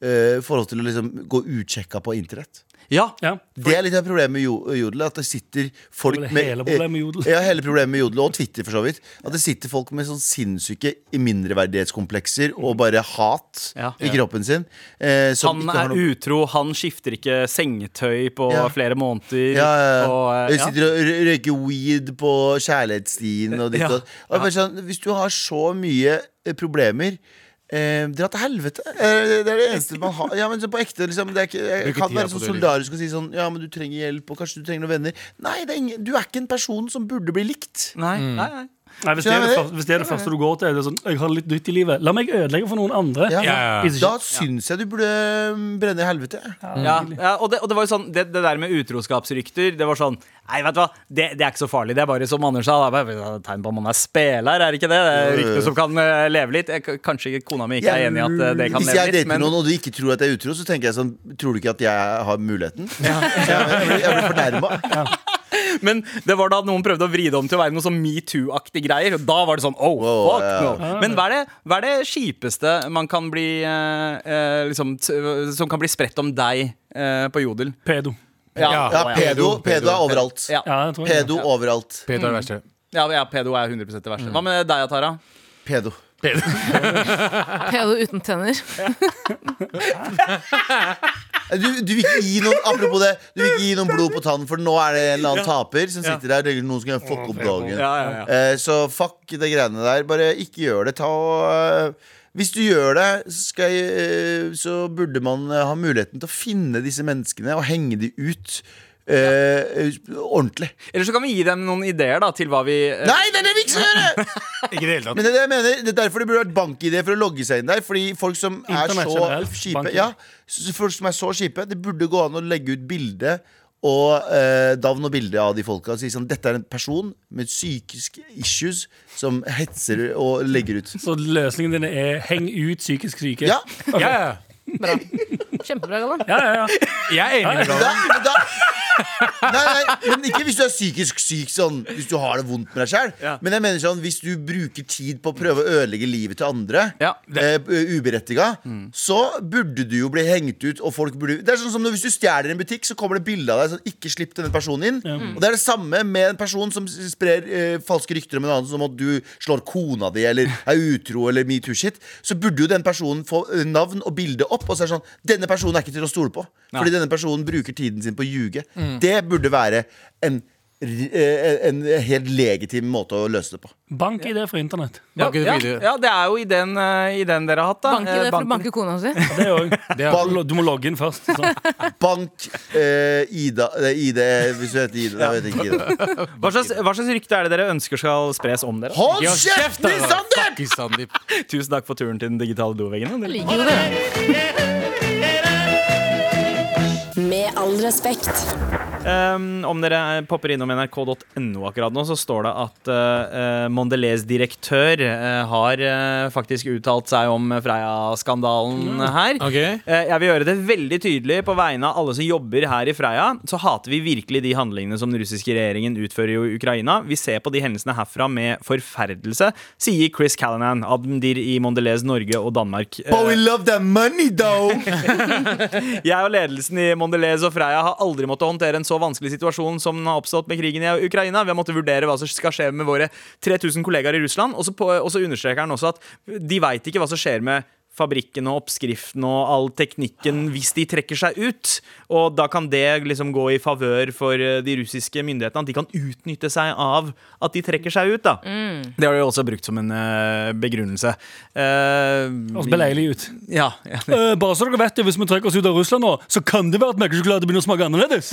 B: eh, Får lov til å liksom gå utsjekka på internett.
D: Ja,
E: Ja.
B: Det er litt av problemet med jo- jodel. At det sitter folk
E: Det er
B: med
E: hele problemet med jodel.
B: Ja, hele problemet med jodel og Twitter, for så vidt. At det sitter folk med sånn sinnssyke mindreverdighetskomplekser
E: Mm.
B: og bare hat
D: Ja.
B: i kroppen sin. eh, som
D: han
B: ikke har
D: er
B: noe-
D: utro, han skifter ikke sengetøy på
B: Ja.
D: flere måneder.
B: Ja, ja, ja.
D: og, eh,
B: Jeg
D: ja.
B: sitter og rø- røyker weed på kjærlighetsstien og ditt
D: Ja.
B: og og jeg bare sånn, Hvis du har så mye eh, problemer Eh, Dra til helvete! Eh, det er det eneste man har. Ja, men så på ekte liksom, det er ikke, Jeg
G: Bruker
B: kan
G: tida
B: være
G: på
B: sånn
G: det, liksom.
B: solidarisk og si sånn Ja, men du trenger hjelp, og kanskje du trenger noen venner. Nei, det er ingen, du er ikke en person som burde bli likt.
D: Nei, nei, nei.
E: Nei, hvis, det er det første, hvis det er det første du går til, er det sånn Jeg har litt nytt i livet. La meg ødelegge for noen andre.
B: Ja.
G: Ja, ja, ja.
E: Is-
B: Da syns jeg du burde mm, brenne i helvete.
D: Ja, ja og, det, og det var jo sånn Det, det der med utroskapsrykter, det var sånn Nei, vet du hva, det, det er ikke så farlig. Det er bare som Anders sa, det er bare et tegn på at man er speler, er det ikke det? Det er rykter som kan eh, leve litt. Jeg, kanskje kona mi ikke er enig i at eh, det kan
B: Hvis
D: leve
B: jeg
D: litt,
B: dater
D: men
B: noen og du ikke tror at jeg er utro, så tenker jeg sånn Tror du ikke at jeg har muligheten? Ja, jeg blir, jeg blir fornærma.
D: Men det var da noen prøvde å vride om til å være noe sånn metoo-aktig greier. Og da var det sånn oh,
B: Wow,
D: fuck
B: ja.
D: no. Men hva er, det, hva er det kjipeste man kan bli eh, eh, liksom, t Som kan bli spredt om deg eh, på jodel?
E: Pedo.
G: Ja.
B: Ja, pedo,
G: Pedo.
B: pedo er overalt.
D: Ja.
E: Ja, jeg tror jeg.
B: Pedo overalt.
G: Pedo er det verste.
D: Ja, ja, pedo er 100 det verste. Hva med deg, Tara?
B: Pedo.
F: Pedo uten tenner.
B: Eh, Du, du vil ikke gi noen Apropos det, du vil ikke gi noen blod på tannen, for nå er det en eller annen taper som sitter der og tenker noen skal gjøre fuck opp dagen.
D: Ja, ja, ja.
B: Eh, Så fuck de greiene der. Bare ikke gjør det. Ta og eh, hvis du gjør det, så, skal jeg, eh, så burde man eh, ha muligheten til å finne disse menneskene og henge de ut eh, ordentlig.
D: Eller så kan vi gi dem noen ideer da til hva vi eh,
B: Nei, det er det vi ikke skal gjøre!
G: Ikke i det hele tatt.
B: Men det er det jeg mener, det er derfor det burde vært bank-ID for å logge seg inn der. Fordi folk som er
E: Internett
B: så
E: generelt,
B: kjipe
E: bank-ID.
B: ja, s- Folk som er så kjipe Det burde gå an å legge ut bilde og eh, navn og bilde av de folka. Og si sånn, dette er en person med psykiske issues som hetser og legger ut.
E: Så løsningen din er heng ut psykisk syke?
B: Ja,
G: Ja, ja.
F: Kjempebra, Galvan.
E: ja, ja, ja.
G: Jeg er enig med deg.
B: da, da, Nei, nei, men ikke hvis du er psykisk syk sånn Hvis du har det vondt med deg selv
D: Ja.
B: Men jeg mener sånn, hvis du bruker tid på å prøve å ødelegge livet til andre
D: Ja,
B: eh, Uberettiget Så burde du jo bli hengt ut Og folk burde Det er sånn som når, hvis du stjeler i en butikk Så kommer det bilder av deg sånn, Ikke slipp denne personen inn Og det er det samme med en person som s- sprer eh, falske rykter om en annen Som at du slår kona di Eller er utro eller metoo shit Så burde jo den personen få eh, navn og bilde opp Og så er det sånn Denne personen er ikke til å stole på Fordi denne personen bruker tiden sin på å ljuge Det burde være en eh, en helt legitim måte å løse det på.
E: Bank i det for internett.
D: Ja,
G: Banket
D: ja,
G: videre.
D: ja, det er jo i den, eh, i den dere har hatt, da.
F: Banke det
D: Eh,
F: for å
D: banken.
F: banke kona si.
E: Det er jo-
G: Det er-
B: Ball-
E: Du må logge inn først. Sånn.
B: Bank eh, Ida eh, Ide, Hvis du heter Ida, da vet jeg ikke Ida.
D: Hva slags, hva slags rykte er det dere ønsker skal spres om dere?
B: Hold
G: Gi oss
B: kjeft,
G: kjeft, da!
B: Nisander!
G: Fuck you, Sandeep.
D: Tusen takk for turen til den digitale doveggen.
F: Jeg liker jo det.
C: Med all respekt.
D: Um, om dere popper innom nrk.no akkurat nå, så står det at eh, eh, Mondelez direktør eh, har eh, faktisk uttalt seg om Freia-skandalen her.
G: Ok.
D: Eh, Jeg vil gjøre det veldig tydelig på vegne av alle som jobber her i Freia. Så hater vi virkelig de handlingene som den russiske regjeringen utfører i Ukraina. Vi ser på de hendelsene herfra med forferdelse, sier Chris Callanan, admdir i Mondelez Norge og Danmark. Eh,
B: But Oh, we love that money, though!
D: Jeg og ledelsen i Mondelez og Freia har aldri måttet håndtere en så vanskelig situasjon som har oppstått med krigen i Ukraina. Vi har måttet vurdere hva som skal skje med våre 3000 kollegaer i Russland. Og så på- og så understreker han også at de veit ikke hva som skjer med fabrikken og oppskriften og all teknikken hvis de trekker seg ut. Og da kan det liksom gå i favør for eh, de russiske myndighetene. At de kan utnytte seg av at de trekker seg ut, da. Det har de jo også brukt som en eh, begrunnelse.
E: Høres
D: Uh,
E: beleilig ut.
D: ja, ja.
E: Eh, bare så dere vet det, Hvis vi trekker oss ut av Russland nå, så kan det være at melkesjokolade begynner å smake annerledes.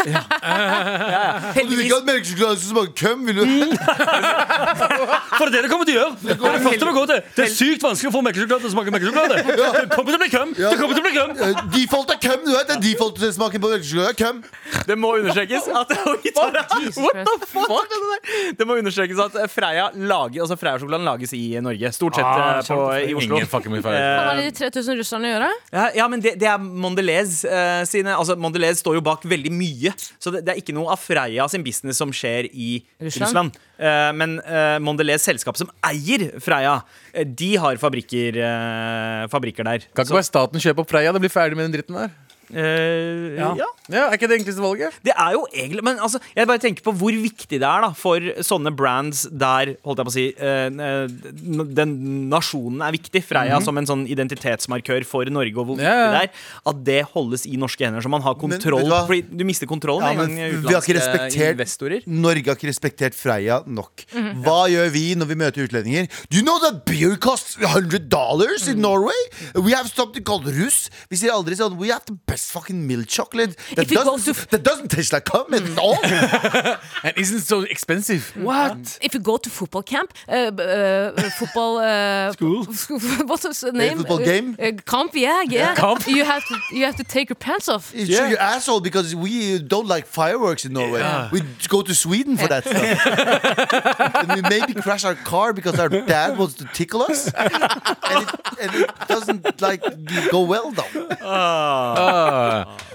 B: Vil du ikke at melkesjokolade skal smake køm? Vil du?
E: For det er det det kommer til å gjøre. Det, er det, første vi går til. det er sykt vanskelig å få melkesjokolade til å smake melkesjokolade. Det kommer til å bli køm. Det kommer til å bli køm.
B: Eh, Default er køm, du vet. Det er default-smaken på melkesjokolade. er Køm.
D: Det må understrekes at Oi, Tara, What the fuck? er Det der? Det må understrekes at Freia lager Altså Freia-sjokoladen lages i Norge. Stort sett
E: Ah,
D: eh, på, i Oslo.
G: Ingen fucker med feil.
F: Hva har
D: Eh,
F: de 3000 russerne å gjøre?
D: ja, ja, men det, det er Mondelez eh, sine Altså Mondelez står jo bak veldig mye, så det, det er ikke noe av Freia sin business som skjer i Russland.
F: Russland.
D: Eh, men eh, Mondelez selskap som eier Freia, eh, de har fabrikker, eh, fabrikker der.
G: Kan ikke bare staten kjøpe opp Freia? Det blir ferdig med den dritten der.
D: Eh,
E: Ja.
D: ja.
G: Ja, Er ikke det enkleste valget?
D: Det er jo egentlig Men altså, jeg bare tenker på hvor viktig det er da for sånne brands der holdt jeg på å si, eh, eh, den nasjonen er viktig. Freia
B: Mhm.
D: som en sånn identitetsmarkør for Norge, og hvor viktig
G: Ja, ja.
D: det er. At det holdes i norske hender, så man har
B: Men, vet
D: kontroll.
B: du hva?
D: fordi du mister kontrollen
B: Ja,
D: med
B: men
D: en gang
B: vi har ikke
D: utenlandske
B: respektert-
D: investorer.
B: Norge har ikke respektert Freia nok. Hva gjør vi når vi møter utlendinger? Do you know that beer costs 100 dollars in Norway? We have something called russ. Vi sier aldri sånn We have the best fucking milk chocolate. That
F: If it goes
B: doesn't, that doesn't taste like cum at all.
G: And isn't so expensive.
D: Mm.
G: Mm.
E: What?
F: If you go to football camp uh, b- uh, Football uh,
E: School?
F: What's his name?
B: football game?
F: Uh, camp, yeah, yeah.
G: Camp.
F: You, have to, you have to take your pants off.
B: It's your asshole because we don't like fireworks in Norway. We go to Sweden for that stuff. and we maybe crash our car because our dad wants to tickle us. And it, and it doesn't like go well though.
G: Ah.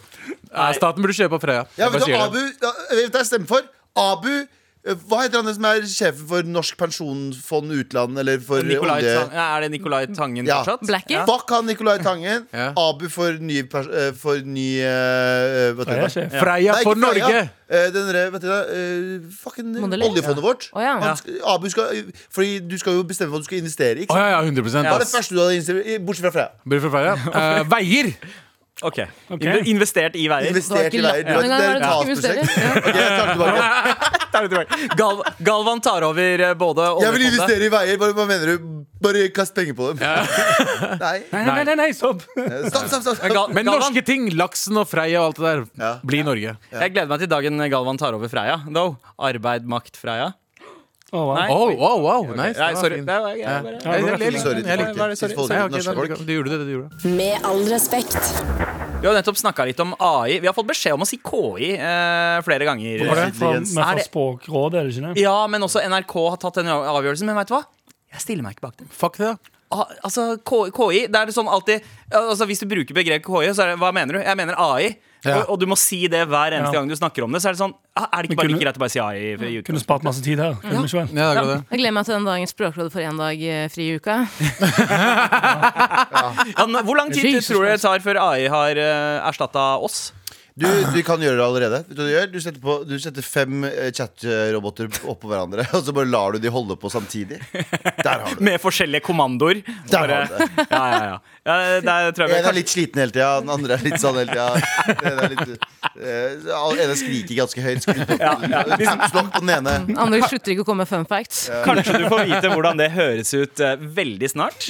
G: Ja, staten burde kjøpe opp Freia.
B: Ja,
G: Jeg
B: vet
G: bare
B: du, hva, Abu,
G: sier det.
B: ja, vet du hva jeg stemmer for? Abu eh, hva heter han som er sjefen for Norsk pensjonsfond utland? Eller for eh,
D: Nicolai
B: olje?
D: Tang- ja, er det Nicolai Tangen
B: Ja.
D: fortsatt?
F: Blackie?
D: Ja.
B: Fuck han Nicolai Tangen.
G: Ja.
B: Abu for ny, pers eh, for ny eh, Hva
E: Det
B: heter
E: er
B: det?
E: sjef.
G: Freia
B: Nei, ikke
G: for
B: Freia.
G: Norge!
B: Eh, Den der, vet du det, eh, fucking
F: Mondelez?
B: oljefondet vårt.
F: Å, ja.
B: Han sk- Abu skal, fordi du skal jo bestemme hva du skal investere i.
G: Å
B: ikke sant?
G: ja, ja, 100
B: Hva er det første du hadde investert i, bortsett fra Freia?
G: Burde for Freia. Eh, Veier!
D: Ok.
E: Ok.
D: Inve- Investert i veier.
B: Investert i veier. Du har
F: Ja.
B: et
F: Ja.
B: rasprosjekt. Ok, jeg tar det tilbake.
D: Tar det tilbake. Gal Galvan tar over eh, både
B: Jeg vil
D: oljefondet-
B: investere i veier. Bare, hva mener du? Bare kast penger på dem. Nei.
E: Nei, nei, nei, nei, stopp.
B: Stopp, stopp, stopp.
D: Gal-
G: Men
D: Galvan-
G: norske ting, laksen og Freia og alt det der,
B: Ja.
G: blir Norge.
D: Jeg gleder meg til dagen Galvan tar over Freia. though. Arbeid, makt, Freia.
E: Å, wow.
G: Oh, wow, wow, nice.
D: Nei,
G: Det var
D: sorry.
G: fint.
D: Det var- jeg- jeg bare-
G: Ja, jeg- jeg- jeg- jeg-
B: Sorry til
G: jeg- jeg-
B: folket.
G: sorry.
B: Til folket,
G: Ja, ok,
B: norske
G: da-
B: folk.
G: Du gjorde det, du gjorde det.
C: Med all respekt.
D: Vi har nettopp snakka litt om AI. Vi har fått beskjed om å si KI eh, flere ganger.
E: Var det fra, men
D: Er
E: fra
D: det-
E: Språkrådet, er det ikke det?
D: Ja, men også NRK har tatt den avgjørelsen. Men veit du hva? Jeg stiller meg ikke bak den.
G: Fuck det, da.
D: Ah, altså, K- KI, det er det sånn alltid Altså, Hvis du bruker begrepet KI, så er det hva mener du? Jeg mener AI.
G: Ja.
D: Og, og du må si det hver eneste
E: Ja.
D: gang du snakker om det. Så er det sånn ah, Er det
E: Men
D: ikke bare
E: kunne-
D: like greit å bare si ja i, i utgangspunktet?
E: Kunne spart masse tid her. Kunne vi ikke vel?
G: Ja, det er det.
F: Jeg gleder meg til den dagen Språkrådet får én dag eh, fri i uka.
D: Ja, men hvor lang tid
E: Jesus
D: tror du det tar før AI har uh, erstatta oss?
B: Du, du kan gjøre det allerede. Vet du hva du gjør? Du setter, på, du setter fem eh, chatroboter oppå hverandre, og så bare lar du de holde på samtidig. Der har du det.
D: Med forskjellige kommandoer.
B: Der har du det.
D: Ja, ja, ja. ja der tror jeg
B: En
D: vi
B: er litt sliten hele tida, den andre er litt sånn hele tida. Den ene er litt, eh, all- ene skriker ganske høyt. Skru
D: ja, ja. Hvis,
B: slokk på den ene.
F: Andre slutter ikke å komme med fun facts.
D: Kanskje du får vite hvordan det høres ut eh, veldig snart.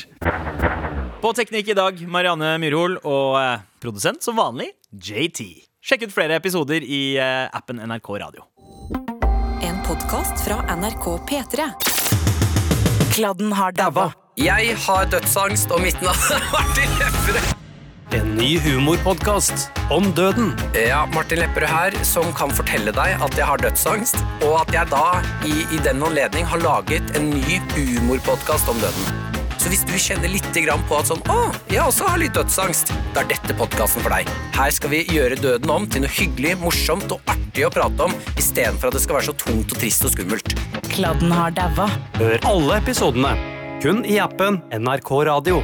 D: På Teknikk i dag, Marianne Myrhol og eh, produsent som vanlig, JT. Sjekk ut flere episoder i eh, appen NRK Radio.
C: En podkast fra NRK P3.
K: Kladden har dabba. Jeg har dødsangst, og mitt navn er Martin Lepperød.
J: En ny humorpodkast om døden.
K: Ja, Martin Lepperød her, som kan fortelle deg at jeg har dødsangst, og at jeg da i, i den anledning har laget en ny humorpodkast om døden. Så hvis du kjenner litt grann på at sånn, å, jeg også har litt dødsangst, da er dette podkasten for deg. Her skal vi gjøre døden om til noe hyggelig, morsomt og artig å prate om, istedenfor at det skal være så tungt og trist og skummelt. Kladden har dabba.
J: Hør alle episodene kun i appen NRK Radio.